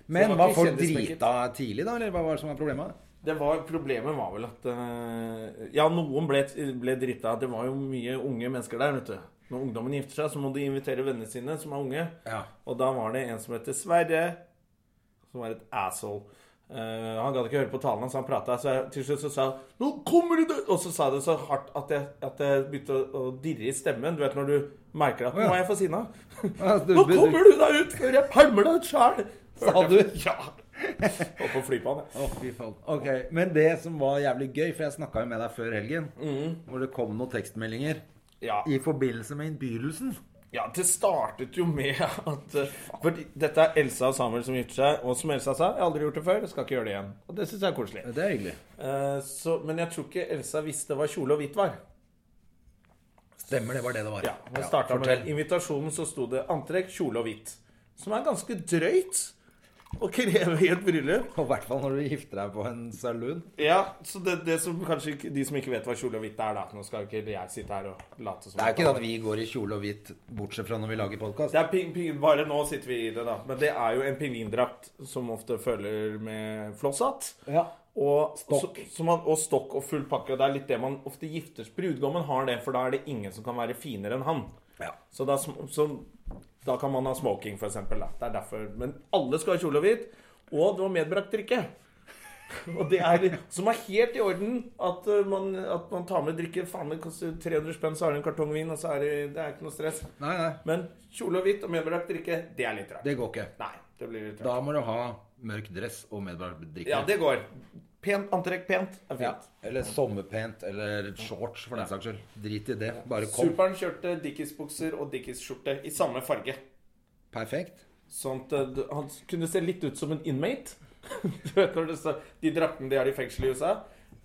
Speaker 1: Så
Speaker 2: Men
Speaker 1: det var
Speaker 2: var
Speaker 1: ikke
Speaker 2: folk
Speaker 1: kjendismekket.
Speaker 2: drita tidlig, da? Eller hva var det som var problemet?
Speaker 1: Det var, problemet var vel at eh, Ja, noen ble, ble drita. Det var jo mye unge mennesker der, vet du. Når ungdommen gifter seg, så må de invitere vennene sine som er unge.
Speaker 2: Ja.
Speaker 1: Og da var det en som heter Sverre, som var et asshole. Eh, han gadd ikke høre på talen hans, han prata. Så jeg, til slutt så sa han 'Nå kommer du død!' Og så sa jeg det så hardt at jeg, at jeg begynte å, å dirre i stemmen. Du vet når du merker at 'Nå er jeg for sinna'.
Speaker 2: Ja, du-
Speaker 1: 'Nå kommer du deg ut før jeg pælmer deg ut sjæl'!
Speaker 2: Sa
Speaker 1: Hørte jeg-
Speaker 2: du?
Speaker 1: Ja. Og på flybanen.
Speaker 2: Å, fy faen. Ok, Men det som var jævlig gøy, for jeg snakka jo med deg før helgen, hvor det kom noen tekstmeldinger
Speaker 1: Ja.
Speaker 2: i forbindelse med innbydelsen.
Speaker 1: Ja, det startet jo med at eh, For dette er Elsa og Samuel som gifter seg. Og som Elsa sa, jeg har aldri gjort det før, jeg skal ikke gjøre det igjen. Og det syns jeg er koselig.
Speaker 2: Det er hyggelig.
Speaker 1: Eh, så, men jeg tror ikke Elsa visste hva kjole og hvitt var.
Speaker 2: Stemmer, det var det det var.
Speaker 1: Ja, vi startet med det. Invitasjonen så sto det antrekk, kjole og hvitt. Som er ganske drøyt å kreve i et bryllup.
Speaker 2: Og I hvert fall når du gifter deg på en saloon.
Speaker 1: Ja, så det, det som kanskje ikke- de som ikke vet hva kjole og hvitt er, da Nå skal ikke jeg sitte her og late som
Speaker 2: Det er jo ikke det at vi går i kjole og hvitt, bortsett fra når vi lager podkast.
Speaker 1: Det er ping, ping, bare nå sitter vi i det, da. Men det er jo en pingvindrakt som ofte følger med flosshatt.
Speaker 2: Ja.
Speaker 1: Og
Speaker 2: Stokk.
Speaker 1: Så, så man, og stokk og full pakke. Og det er litt det man ofte gifter Brudgommen har det, for da er det ingen som kan være finere enn han.
Speaker 2: Ja.
Speaker 1: Så da, sm- så, da kan man ha smoking, for eksempel. Da. Det er derfor. Men alle skal ha kjole og hvit. Og det var medbrakt drikke. Og det er, som er helt i orden at eh, man, at man tar med drikke. Faen, det koster 300 spenn, så er det en kartong vin, og så er det, det er ikke noe stress.
Speaker 2: Nei, nei.
Speaker 1: Men kjole og hvitt og medbrakt drikke, det er litt rart.
Speaker 2: Det går ikke.
Speaker 1: Nei, det blir litt rart.
Speaker 2: Da må du ha mørk dress og medbrakt drikke.
Speaker 1: Ja, det går. Pent, antrekk pent er
Speaker 2: Ja.
Speaker 1: fint.
Speaker 2: Eller sommerpent eller shorts, for den saks skyld. Drit i det. Bare kom.
Speaker 1: Superen kjørte Dickies-bukser og Dickies-skjorte i samme farge.
Speaker 2: Perfekt.
Speaker 1: Sånn at eh, du- han kunne se litt ut som en inmate. Du vet når det står de draktene de har i fengsel i USA.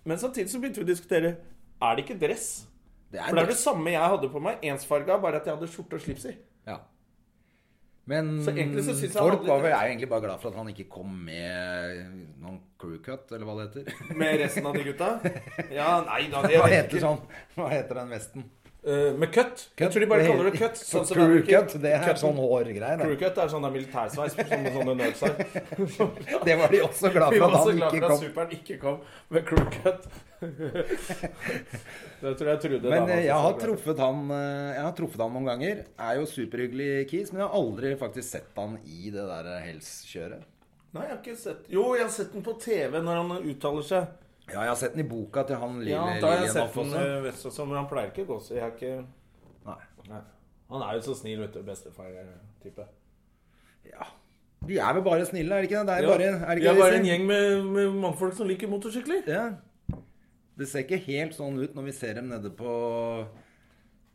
Speaker 1: Men samtidig så begynte vi å diskutere er det ikke dress.
Speaker 2: Det
Speaker 1: For
Speaker 2: er
Speaker 1: det er det
Speaker 2: dress.
Speaker 1: samme jeg hadde på meg, ensfarga, bare at jeg hadde skjorte og slips i.
Speaker 2: Ja. Men
Speaker 1: Så egentlig så synes jeg han
Speaker 2: folk
Speaker 1: hadde
Speaker 2: var
Speaker 1: litt-
Speaker 2: vel, er jo egentlig bare glad for at han ikke kom med noen crew cut, eller hva det heter.
Speaker 1: Med resten av de gutta. Ja, nei da, det
Speaker 2: Hva
Speaker 1: vet jeg
Speaker 2: heter
Speaker 1: ikke.
Speaker 2: sånn? Hva heter den vesten?
Speaker 1: eh, med cut. Jeg tror de bare kaller det cut. sånn som det er-
Speaker 2: Crew cut. Det er
Speaker 1: cutten.
Speaker 2: sånn hårgreier.
Speaker 1: Crew
Speaker 2: da.
Speaker 1: cut er sånn der militærsveis sånn- på sånne, sånne nerds her.
Speaker 2: Det var de også glad
Speaker 1: Vi
Speaker 2: for
Speaker 1: var
Speaker 2: at
Speaker 1: så
Speaker 2: han
Speaker 1: glad
Speaker 2: ikke
Speaker 1: for at
Speaker 2: kom.
Speaker 1: superen ikke kom med crew cut. det tror jeg Trude
Speaker 2: Men
Speaker 1: dama også
Speaker 2: eh, jeg
Speaker 1: sa
Speaker 2: har
Speaker 1: det.
Speaker 2: truffet han eh, Jeg har truffet han noen ganger. Er jo superhyggelig kis, men jeg har aldri faktisk sett han i det der helskjøret.
Speaker 1: Nei, jeg har ikke sett Jo, jeg har sett den på TV når han uttaler seg.
Speaker 2: Ja, jeg har sett den i boka til han lille
Speaker 1: Ja, da har jeg
Speaker 2: Lillian
Speaker 1: sett
Speaker 2: Hoff
Speaker 1: den
Speaker 2: også.
Speaker 1: eh, vest også, men han pleier ikke å gå så jeg har ikke
Speaker 2: Nei.
Speaker 1: Nei. Han er jo så snill, vet du. Bestefar-type.
Speaker 2: Ja. De er vel bare snille, er det ikke det? Det er
Speaker 1: Ja.
Speaker 2: bare, er
Speaker 1: Vi
Speaker 2: det
Speaker 1: er
Speaker 2: ikke det de
Speaker 1: bare en
Speaker 2: sier?
Speaker 1: gjeng med, med mannfolk som liker motorsykler.
Speaker 2: Ja. Det ser ikke helt sånn ut når vi ser dem nede på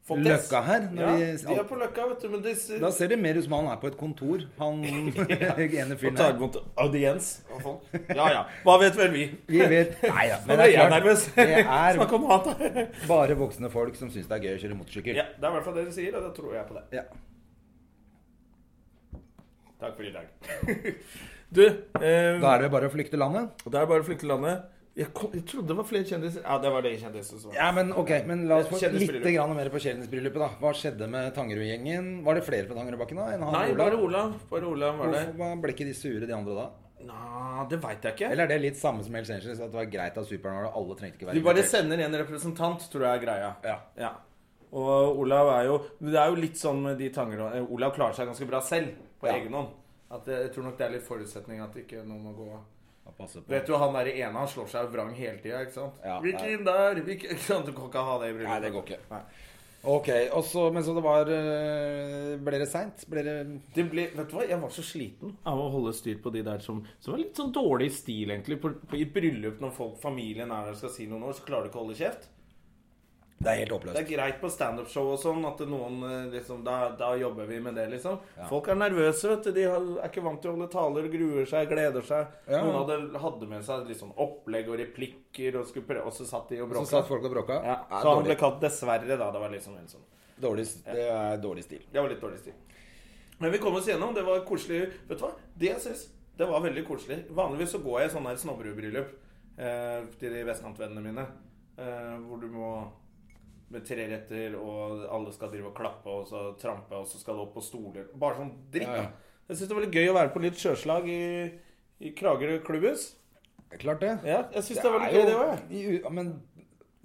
Speaker 1: Fontes.
Speaker 2: Løkka her. Når
Speaker 1: Ja,
Speaker 2: vi,
Speaker 1: de er på Løkka, vet du, men de
Speaker 2: Da ser det mer ut som han er på et kontor. Han ene
Speaker 1: Og
Speaker 2: fyren
Speaker 1: tar
Speaker 2: her.
Speaker 1: imot audiens. og sånn. Ja ja. Hva vet vel vi?
Speaker 2: Vi vet Nei da,
Speaker 1: Nå
Speaker 2: men
Speaker 1: ble
Speaker 2: det
Speaker 1: jeg
Speaker 2: er
Speaker 1: nervøs.
Speaker 2: klart. Det er
Speaker 1: Snakk om noe annet.
Speaker 2: bare voksne folk som syns det er gøy å kjøre motorsykkel.
Speaker 1: Ja, det er i hvert fall det de sier, og da tror jeg på det.
Speaker 2: Ja.
Speaker 1: Takk for i dag. Du, eh,
Speaker 2: Da er det bare å flykte landet?
Speaker 1: det er bare å flykte landet. Jeg, kom, jeg trodde det var flere kjendiser. Ja, det var de kjendisene som var
Speaker 2: Ja, men ok, men La oss få litt
Speaker 1: Kjendisbryllup.
Speaker 2: grann mer på Kjeldensbryllupet, da. Hva skjedde med Tangerud-gjengen? Var det flere fra Tangerudbakken da? enn han
Speaker 1: Nei,
Speaker 2: Olav?
Speaker 1: bare Olav. Bare Olav var der.
Speaker 2: Hvorfor var- ble ikke de sure, de andre da?
Speaker 1: Nei, det veit jeg ikke.
Speaker 2: Eller er det litt samme som Hells Angels? At det var greit at Superen var der? Alle trengte ikke være
Speaker 1: Du bare
Speaker 2: invitert?
Speaker 1: sender en representant, tror jeg er greia.
Speaker 2: Ja.
Speaker 1: Og Olav er jo Det er jo litt sånn med de tanger eh, Olav klarer seg ganske bra selv, på
Speaker 2: Ja.
Speaker 1: egen hånd. At eh, jeg, jeg tror nok det er litt forutsetning at ikke noen må gå
Speaker 2: Ja, passe på.
Speaker 1: Vet du, han der ene han slår seg vrang hele tida, ikke sant?
Speaker 2: Ja,
Speaker 1: Hvilken
Speaker 2: nei.
Speaker 1: inn der? Hvilken ikke sant? Du kan ikke ha det i bryllupet.
Speaker 2: Nei, det går ikke.
Speaker 1: Nei.
Speaker 2: Ok, og så, Men så det var eh, Ble det seint? Ble det
Speaker 1: Det ble, vet du hva, jeg var så sliten av å holde styr på de der som, som var litt sånn dårlig i stil, egentlig. På, på, I et bryllup når folk, familien er der og skal si noen ord, så klarer du ikke å holde kjeft.
Speaker 2: Det er helt håpløst.
Speaker 1: Det er greit på standup-show og sånn at noen eh, liksom da, da jobber vi med det, liksom. Folk er nervøse, vet du. De har, er ikke vant til å holde taler, gruer seg, gleder seg.
Speaker 2: Ja.
Speaker 1: Noen hadde, hadde med seg litt sånn opplegg og replikker, og, skulle prøve, og så satt de og
Speaker 2: Så
Speaker 1: bråka.
Speaker 2: satt folk og bråka?
Speaker 1: Ja, så
Speaker 2: Det er
Speaker 1: han ble
Speaker 2: dårlig,
Speaker 1: kalt 'dessverre', da. Det var liksom en sånn
Speaker 2: dårlig, det er dårlig stil.
Speaker 1: Det var litt dårlig stil. Men vi kom oss gjennom. Det var koselig. Vet du hva? Det jeg synes, det var veldig koselig. Vanligvis så går jeg i sånne her snobberudbryllup eh, til de vestkantvennene mine, eh, hvor du må med tre retter, og alle skal drive og klappe og så trampe, og så skal du opp på stoler. Bare sånn dritt.
Speaker 2: Ja, ja.
Speaker 1: da. Jeg syns det var litt gøy å være på litt sjøslag i, i Kragerø klubbhus.
Speaker 2: Klart det.
Speaker 1: Ja, jeg syns det, var litt
Speaker 2: er
Speaker 1: gøy, det òg.
Speaker 2: jo- ja, Men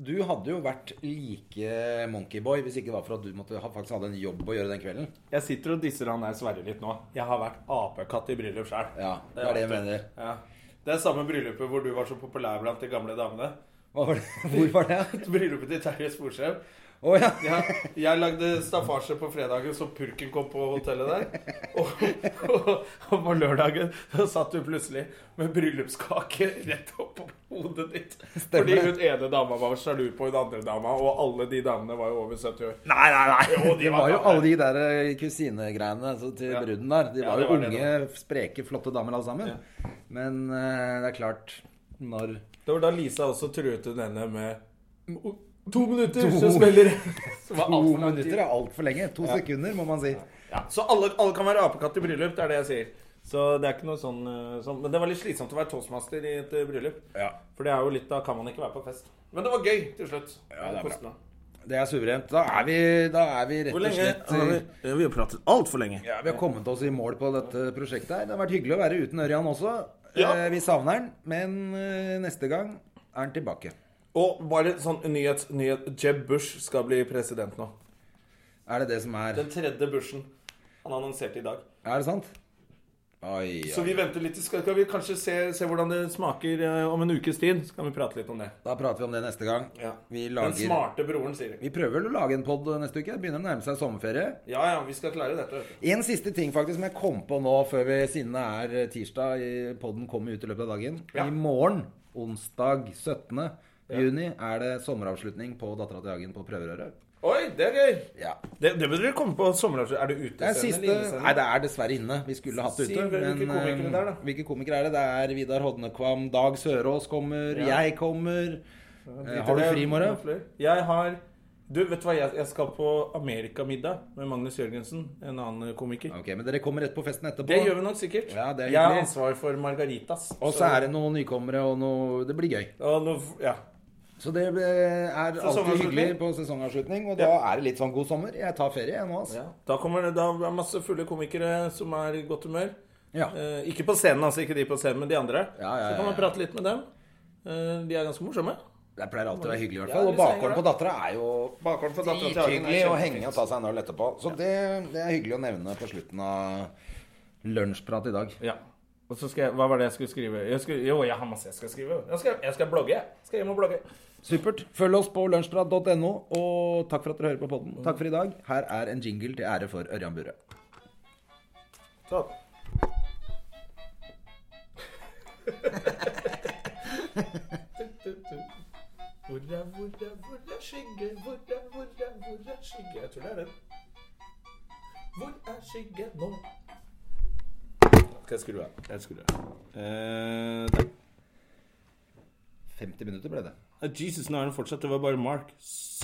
Speaker 2: du hadde jo vært like monkeyboy hvis ikke det var for at du måtte ha, faktisk hadde en jobb å gjøre den kvelden.
Speaker 1: Jeg sitter og disser han der Sverre litt nå. Jeg har vært apekatt i bryllup sjøl.
Speaker 2: Ja, det er det jeg mener.
Speaker 1: Ja. Det er samme bryllupet hvor du var så populær blant de gamle damene.
Speaker 2: Hva var det? Hvor var det?
Speaker 1: Bryllupet til Terje Sporsem.
Speaker 2: Å ja.
Speaker 1: Ja, jeg lagde staffasje på fredagen, så purken kom på hotellet der. Og, og, og på lørdagen så satt du plutselig med bryllupskake rett opp på hodet ditt.
Speaker 2: Stemmer
Speaker 1: Fordi
Speaker 2: det.
Speaker 1: hun ene dama var sjalu på hun andre dama, og alle de damene var jo over 70 år.
Speaker 2: Nei, nei, nei.
Speaker 1: Jo, de
Speaker 2: det
Speaker 1: var
Speaker 2: var jo
Speaker 1: gamle.
Speaker 2: alle de der eh, kusinegreiene altså, til
Speaker 1: Ja.
Speaker 2: bruden der. De
Speaker 1: Ja,
Speaker 2: var
Speaker 1: det
Speaker 2: jo
Speaker 1: var det
Speaker 2: unge, spreke, flotte damer alle sammen. Men eh, det er klart Når
Speaker 1: Det var da Lisa også truet hun ene med To minutter, så smeller det. Som var
Speaker 2: To
Speaker 1: alt for lang tid.
Speaker 2: minutter er altfor lenge. To sekunder, må man si.
Speaker 1: Ja, så alle, alle kan være apekatt i bryllup, det er det jeg sier. Så det er ikke noe sånn, eh, sånn Men det var litt slitsomt å være toastmaster i et eh, bryllup.
Speaker 2: Ja.
Speaker 1: For det er jo litt, da kan man ikke være på fest. Men det var gøy til slutt.
Speaker 2: Ja, det er
Speaker 1: Kostende.
Speaker 2: Det er suverent. Da er vi, da er vi rett
Speaker 1: Hvor
Speaker 2: og
Speaker 1: lenge?
Speaker 2: slett
Speaker 1: Ja, vi, eh, ja, vi har pratet altfor lenge.
Speaker 2: ja, Vi har kommet oss i mål på dette prosjektet her. Det har vært hyggelig å være uten Ørjan også.
Speaker 1: Ja.
Speaker 2: Eh, Vi savner han, men eh, neste gang er han tilbake.
Speaker 1: Og bare sånn nyhet, nyhet Jeb Bush skal bli president nå.
Speaker 2: Er det det som er
Speaker 1: Den tredje Bushen. Han annonserte i dag.
Speaker 2: Er det sant? Oi,
Speaker 1: Så
Speaker 2: oi.
Speaker 1: vi venter litt. Skal, skal vi kanskje se, se hvordan det smaker eh, om en ukes tid? Så kan vi prate litt om det.
Speaker 2: Da prater vi om det neste gang.
Speaker 1: Ja.
Speaker 2: Vi
Speaker 1: Den
Speaker 2: lager
Speaker 1: smarte broren, sier de.
Speaker 2: Vi prøver vel å lage en pod neste uke. Det begynner å nærme seg sommerferie.
Speaker 1: Ja ja, vi skal klare dette. Vet du.
Speaker 2: En siste ting faktisk som jeg kom på nå før vi siden det er eh, tirsdag. i- Podden kommer ut i løpet av dagen.
Speaker 1: Ja.
Speaker 2: I morgen, onsdag 17. juni, er det sommeravslutning på Dattera til Hagen på prøverøret.
Speaker 1: Oi, det er gøy!
Speaker 2: Ja.
Speaker 1: Det, det burde dere komme på sommeravslutning. Er det
Speaker 2: Det er
Speaker 1: utescene
Speaker 2: siste
Speaker 1: eller innescene?
Speaker 2: Nei, det er dessverre inne. Vi skulle hatt det
Speaker 1: Si
Speaker 2: ute.
Speaker 1: hvilke
Speaker 2: men, eh,
Speaker 1: komikere det er, da.
Speaker 2: Hvilke komikere er det? Det er Vidar Hodnekvam, Dag Sørås kommer,
Speaker 1: Ja.
Speaker 2: jeg kommer. Eh, Har du fri i morgen?
Speaker 1: Jeg har Du, vet du hva? Jeg, jeg skal på Amerikamiddag med Magnus Jørgensen, en annen komiker.
Speaker 2: Ok, men dere kommer rett på festen etterpå.
Speaker 1: Det gjør vi nok sikkert.
Speaker 2: Ja, det er
Speaker 1: jeg har
Speaker 2: hyggelig.
Speaker 1: ansvar for margaritas.
Speaker 2: Og så er det noen nykommere og noe Det blir gøy.
Speaker 1: og nå- Ja.
Speaker 2: Så det ble- er alltid
Speaker 1: Sesongavslutning.
Speaker 2: hyggelig på sesongavslutning, og da er det litt sånn god sommer. Jeg tar ferie jeg nå, altså.
Speaker 1: Da kommer det, da er det masse fulle komikere som er i godt humør.
Speaker 2: Ja.
Speaker 1: Eh, ikke på scenen, altså. Ikke de på scenen, men de andre.
Speaker 2: Ja, ja, ja,
Speaker 1: Så kan man
Speaker 2: ja.
Speaker 1: prate litt med dem. Eh, de er ganske morsomme.
Speaker 2: Det pleier alltid å være hyggelig, i hvert
Speaker 1: Ja,
Speaker 2: fall. Og
Speaker 1: litt seier,
Speaker 2: bakgården på dattera er jo
Speaker 1: Bakhånd for datteren til Hagen er
Speaker 2: drithyggelig å
Speaker 1: kjempefint.
Speaker 2: henge og ta seg en øl etterpå. Så det, det er hyggelig å nevne på slutten av lunsjprat i dag.
Speaker 1: Ja. Og så skal jeg, Hva var det jeg skulle skrive? Jeg skulle, jo, jeg har masse jeg skal skrive. Jeg skal, jeg skal blogge. Jeg skal hjem og blogge.
Speaker 2: Supert. Følg oss på lunsjprat.no, og takk for at dere hører på podden. Takk for i dag. Her er en jingle til ære for Ørjan Burøe.
Speaker 1: Sånn. Hvor er, hvor er, hvor er skygge? Hvor er, hvor er, hvor er skygge? Jeg tror det er den. Hvor er skygge nå? Skal jeg skru av? Jeg skrur av. Eh, takk. Eh,
Speaker 2: 50 minutter ble det.
Speaker 1: Jesus, nå er den fortsatt. Det var bare Mark. Sånn.